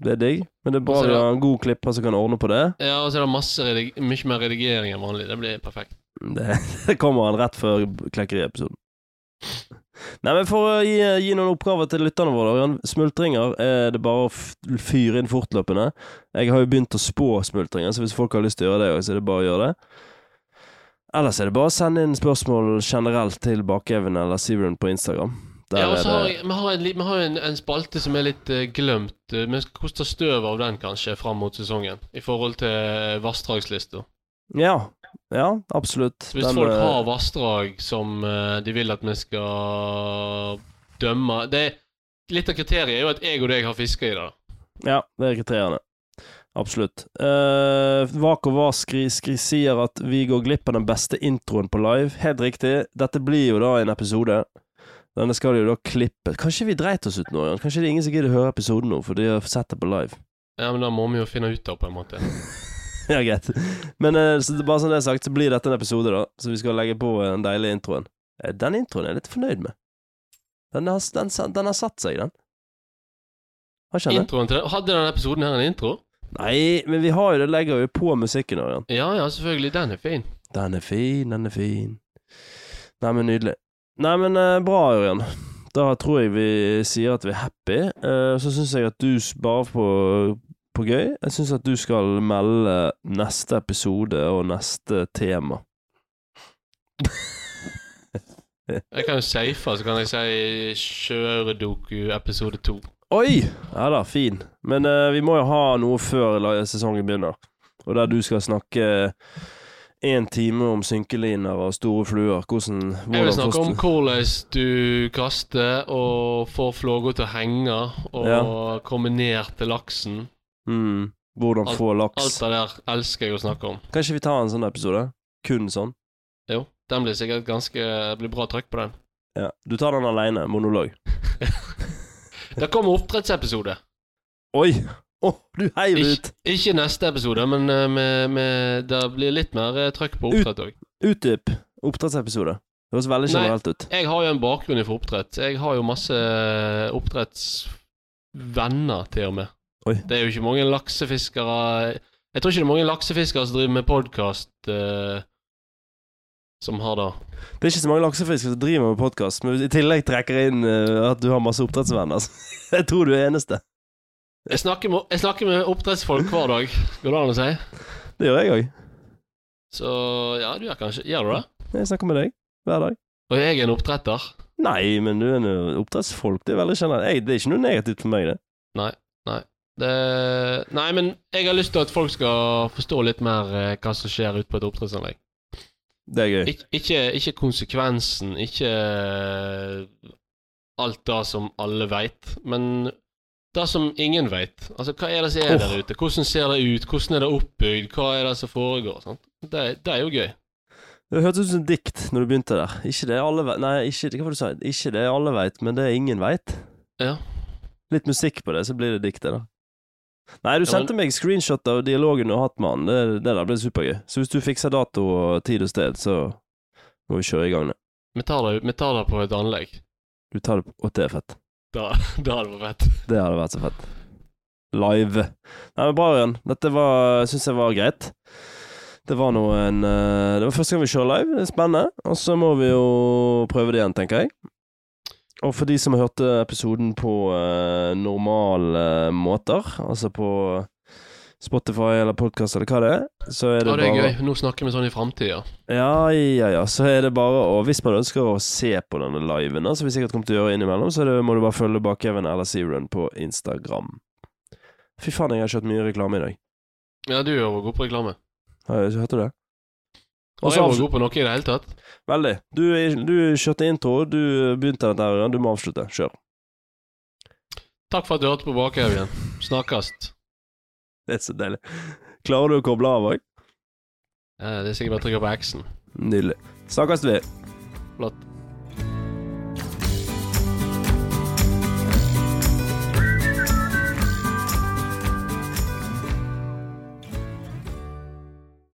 Speaker 1: Det er digg, men det er bra
Speaker 2: Og så
Speaker 1: vi
Speaker 2: da-
Speaker 1: har en god klipper som kan ordne på det.
Speaker 2: Ja, og så er det masse redig mye mer redigering enn vanlig. Det blir perfekt.
Speaker 1: Det, det kommer han rett før Klekkeri-episoden. Nei, men For å gi, gi noen oppgaver til lytterne våre Ørjan, Smultringer er det bare å f- fyre inn fortløpende. Jeg har jo begynt å spå smultringer, så hvis folk har lyst til å gjøre det også, så er det bare å gjøre det. Ellers er det bare å sende inn spørsmål generelt til Bakeven eller Severin på Instagram. Der
Speaker 2: Ja, og
Speaker 1: er
Speaker 2: så
Speaker 1: det
Speaker 2: har jeg, Vi har, en, li- vi har en, en spalte som er litt eh, glemt. eh, Vi skal koste støv av den kanskje fram mot sesongen, i forhold til eh, vassdragslista.
Speaker 1: Ja, ja, absolutt.
Speaker 2: Hvis
Speaker 1: Den,
Speaker 2: folk
Speaker 1: eh,
Speaker 2: har vassdrag som eh, de vil at vi skal dømme det, Litt av kriteriet er jo at jeg og deg har fiska i det. da.
Speaker 1: Ja, det er kriteriene. Absolutt. Eh, Vak og Vas skri, skri, sier at vi går glipp av den beste introen på live. Helt riktig. Dette blir jo da en episode. Denne skal jo da klippe Kanskje vi dreit oss ut nå? Jan? Kanskje det er ingen som gidder å høre episoden nå, for de har sett det på live.
Speaker 2: Ja, Men da må vi jo finne ut av, på en måte.
Speaker 1: ja, greit. Men eh, så det- bare som det er sagt, så blir dette en episode, da. Så vi skal legge på eh, den deilige introen. Eh, Den introen er jeg litt fornøyd med. Den har, den, den har satt seg, den. Har ikke den det?
Speaker 2: Introen til det. Hadde denne episoden her en intro?
Speaker 1: Nei, men vi har jo det, legger jo på musikken, Ørjan.
Speaker 2: Ja ja, selvfølgelig. Den er fin.
Speaker 1: Den er fin, den er fin. Nei, men nydelig. Nei, men eh, bra, Ørjan. Da tror jeg vi sier at vi er happy. Eh, så syns jeg at du, s- bare på, på gøy, jeg syns at du skal melde neste episode og neste tema.
Speaker 2: Jeg kan jo safe, så kan jeg si Sjøredoku episode to.
Speaker 1: Oi! Ja da, fin. Men eh, vi må jo ha noe før la- sesongen begynner. Og der du skal snakke én time om synkeliner og store fluer. Hvordan,
Speaker 2: Jeg vil
Speaker 1: hvordan
Speaker 2: snakke om
Speaker 1: forst-
Speaker 2: hvordan du kaster og får flåga til å henge og
Speaker 1: Ja.
Speaker 2: komme ned til laksen.
Speaker 1: mm, Hvordan
Speaker 2: Alt-
Speaker 1: få laks.
Speaker 2: Alt det der elsker jeg å snakke om.
Speaker 1: Kanskje vi tar en sånn episode? Kun sånn?
Speaker 2: Jo, den blir sikkert ganske det blir bra trykk på den.
Speaker 1: Ja. Du tar den aleine, monolog.
Speaker 2: Det kommer oppdrettsepisode.
Speaker 1: Oi! Å, du heiv ut!
Speaker 2: Ikke, ikke neste episode, men eh, med, med, det blir litt mer eh, trøkk på
Speaker 1: Ut-
Speaker 2: oppdrett òg.
Speaker 1: Utdyp. Oppdrettsepisode. Det høres veldig
Speaker 2: Nei.
Speaker 1: generelt ut.
Speaker 2: Jeg har jo en bakgrunn fra oppdrett. Jeg har jo masse eh, oppdrettsvenner, til og med.
Speaker 1: Oi.
Speaker 2: Det er jo ikke mange laksefiskere Jeg tror ikke det er mange laksefiskere som driver med podkast som har det.
Speaker 1: Det er ikke så mange laksefiskere som driver med podkast, men i tillegg trekker jeg inn eh, at du har masse oppdrettsvenner. så Jeg tror du er eneste.
Speaker 2: Jeg snakker, med, jeg snakker med oppdrettsfolk hver dag, går det an å si.
Speaker 1: Det gjør jeg òg.
Speaker 2: Så ja, du gjør kanskje Gjør du det?
Speaker 1: Jeg snakker med deg hver dag.
Speaker 2: Og jeg er en oppdretter.
Speaker 1: Nei, men du er en eh, oppdrettsfolk. Det er veldig generelt. Jeg, det er ikke noe negativt for meg, det.
Speaker 2: Det, nei, men jeg har lyst til at folk skal forstå litt mer eh, hva som skjer ute på et oppdrettsanlegg.
Speaker 1: Det er gøy.
Speaker 2: Ik ikke, ikke konsekvensen, ikke eh, alt det som alle veit, men det som ingen veit. Altså, hva er det som er
Speaker 1: Åh.
Speaker 2: der ute? Hvordan ser det ut? Hvordan er det oppbygd? Hva er det som foregår? Sant? Det, det er jo gøy.
Speaker 1: Det hørtes ut som et dikt når du begynte der. Ikke det alle veit Nei, ikke, hva var det du sa? Ikke det alle veit, men det ingen veit.
Speaker 2: Ja.
Speaker 1: Litt musikk på det, så blir det diktet, da. Nei, du
Speaker 2: Ja, men-
Speaker 1: sendte meg screenshot av dialogen du har hatt med han. Det, det der ble supergøy. Så hvis du fikser dato og tid og sted, så må vi kjøre i gang det.
Speaker 2: Vi tar det, vi tar det på et anlegg.
Speaker 1: Du tar det på Å, det er fett.
Speaker 2: Da, da hadde det vært fett.
Speaker 1: Det hadde vært så fett. Live. Nei, men bra, Ørjan. Dette var, syns jeg var greit. Det var nå en eh, Det var første gang vi kjører live. Det er spennende. Og så må vi jo prøve det igjen, tenker jeg. Og for de som hørte episoden på eh, normale måter, altså på Spotify eller podkast eller hva det er, så er det,
Speaker 2: Ja, det er
Speaker 1: bare
Speaker 2: gøy. Nå snakker vi sånn i framtida.
Speaker 1: ja, ja, ja. Så er det bare å Hvis man ønsker å se på denne liven, da, som vi sikkert kommer til å gjøre innimellom, så er det, må du bare følge Bakevjen eller Zerun på Instagram. Fy faen, jeg har kjørt mye reklame i dag.
Speaker 2: Ja, du er jo god på reklame.
Speaker 1: Har jeg- Hørte du det?
Speaker 2: Og
Speaker 1: Og
Speaker 2: jeg
Speaker 1: så
Speaker 2: var
Speaker 1: avslut-
Speaker 2: god på noe i det hele tatt.
Speaker 1: Veldig. Du, du kjørte intro, du begynte dette, her, Ørjan. Du må avslutte. Kjør.
Speaker 2: Takk for at du hørte på Bakhaugen. Snakkes.
Speaker 1: Det er så deilig. Klarer du å koble av òg?
Speaker 2: Eh, Det er sikkert bare å trykke på X-en.
Speaker 1: Nydelig. Snakkes vi.
Speaker 2: Flott.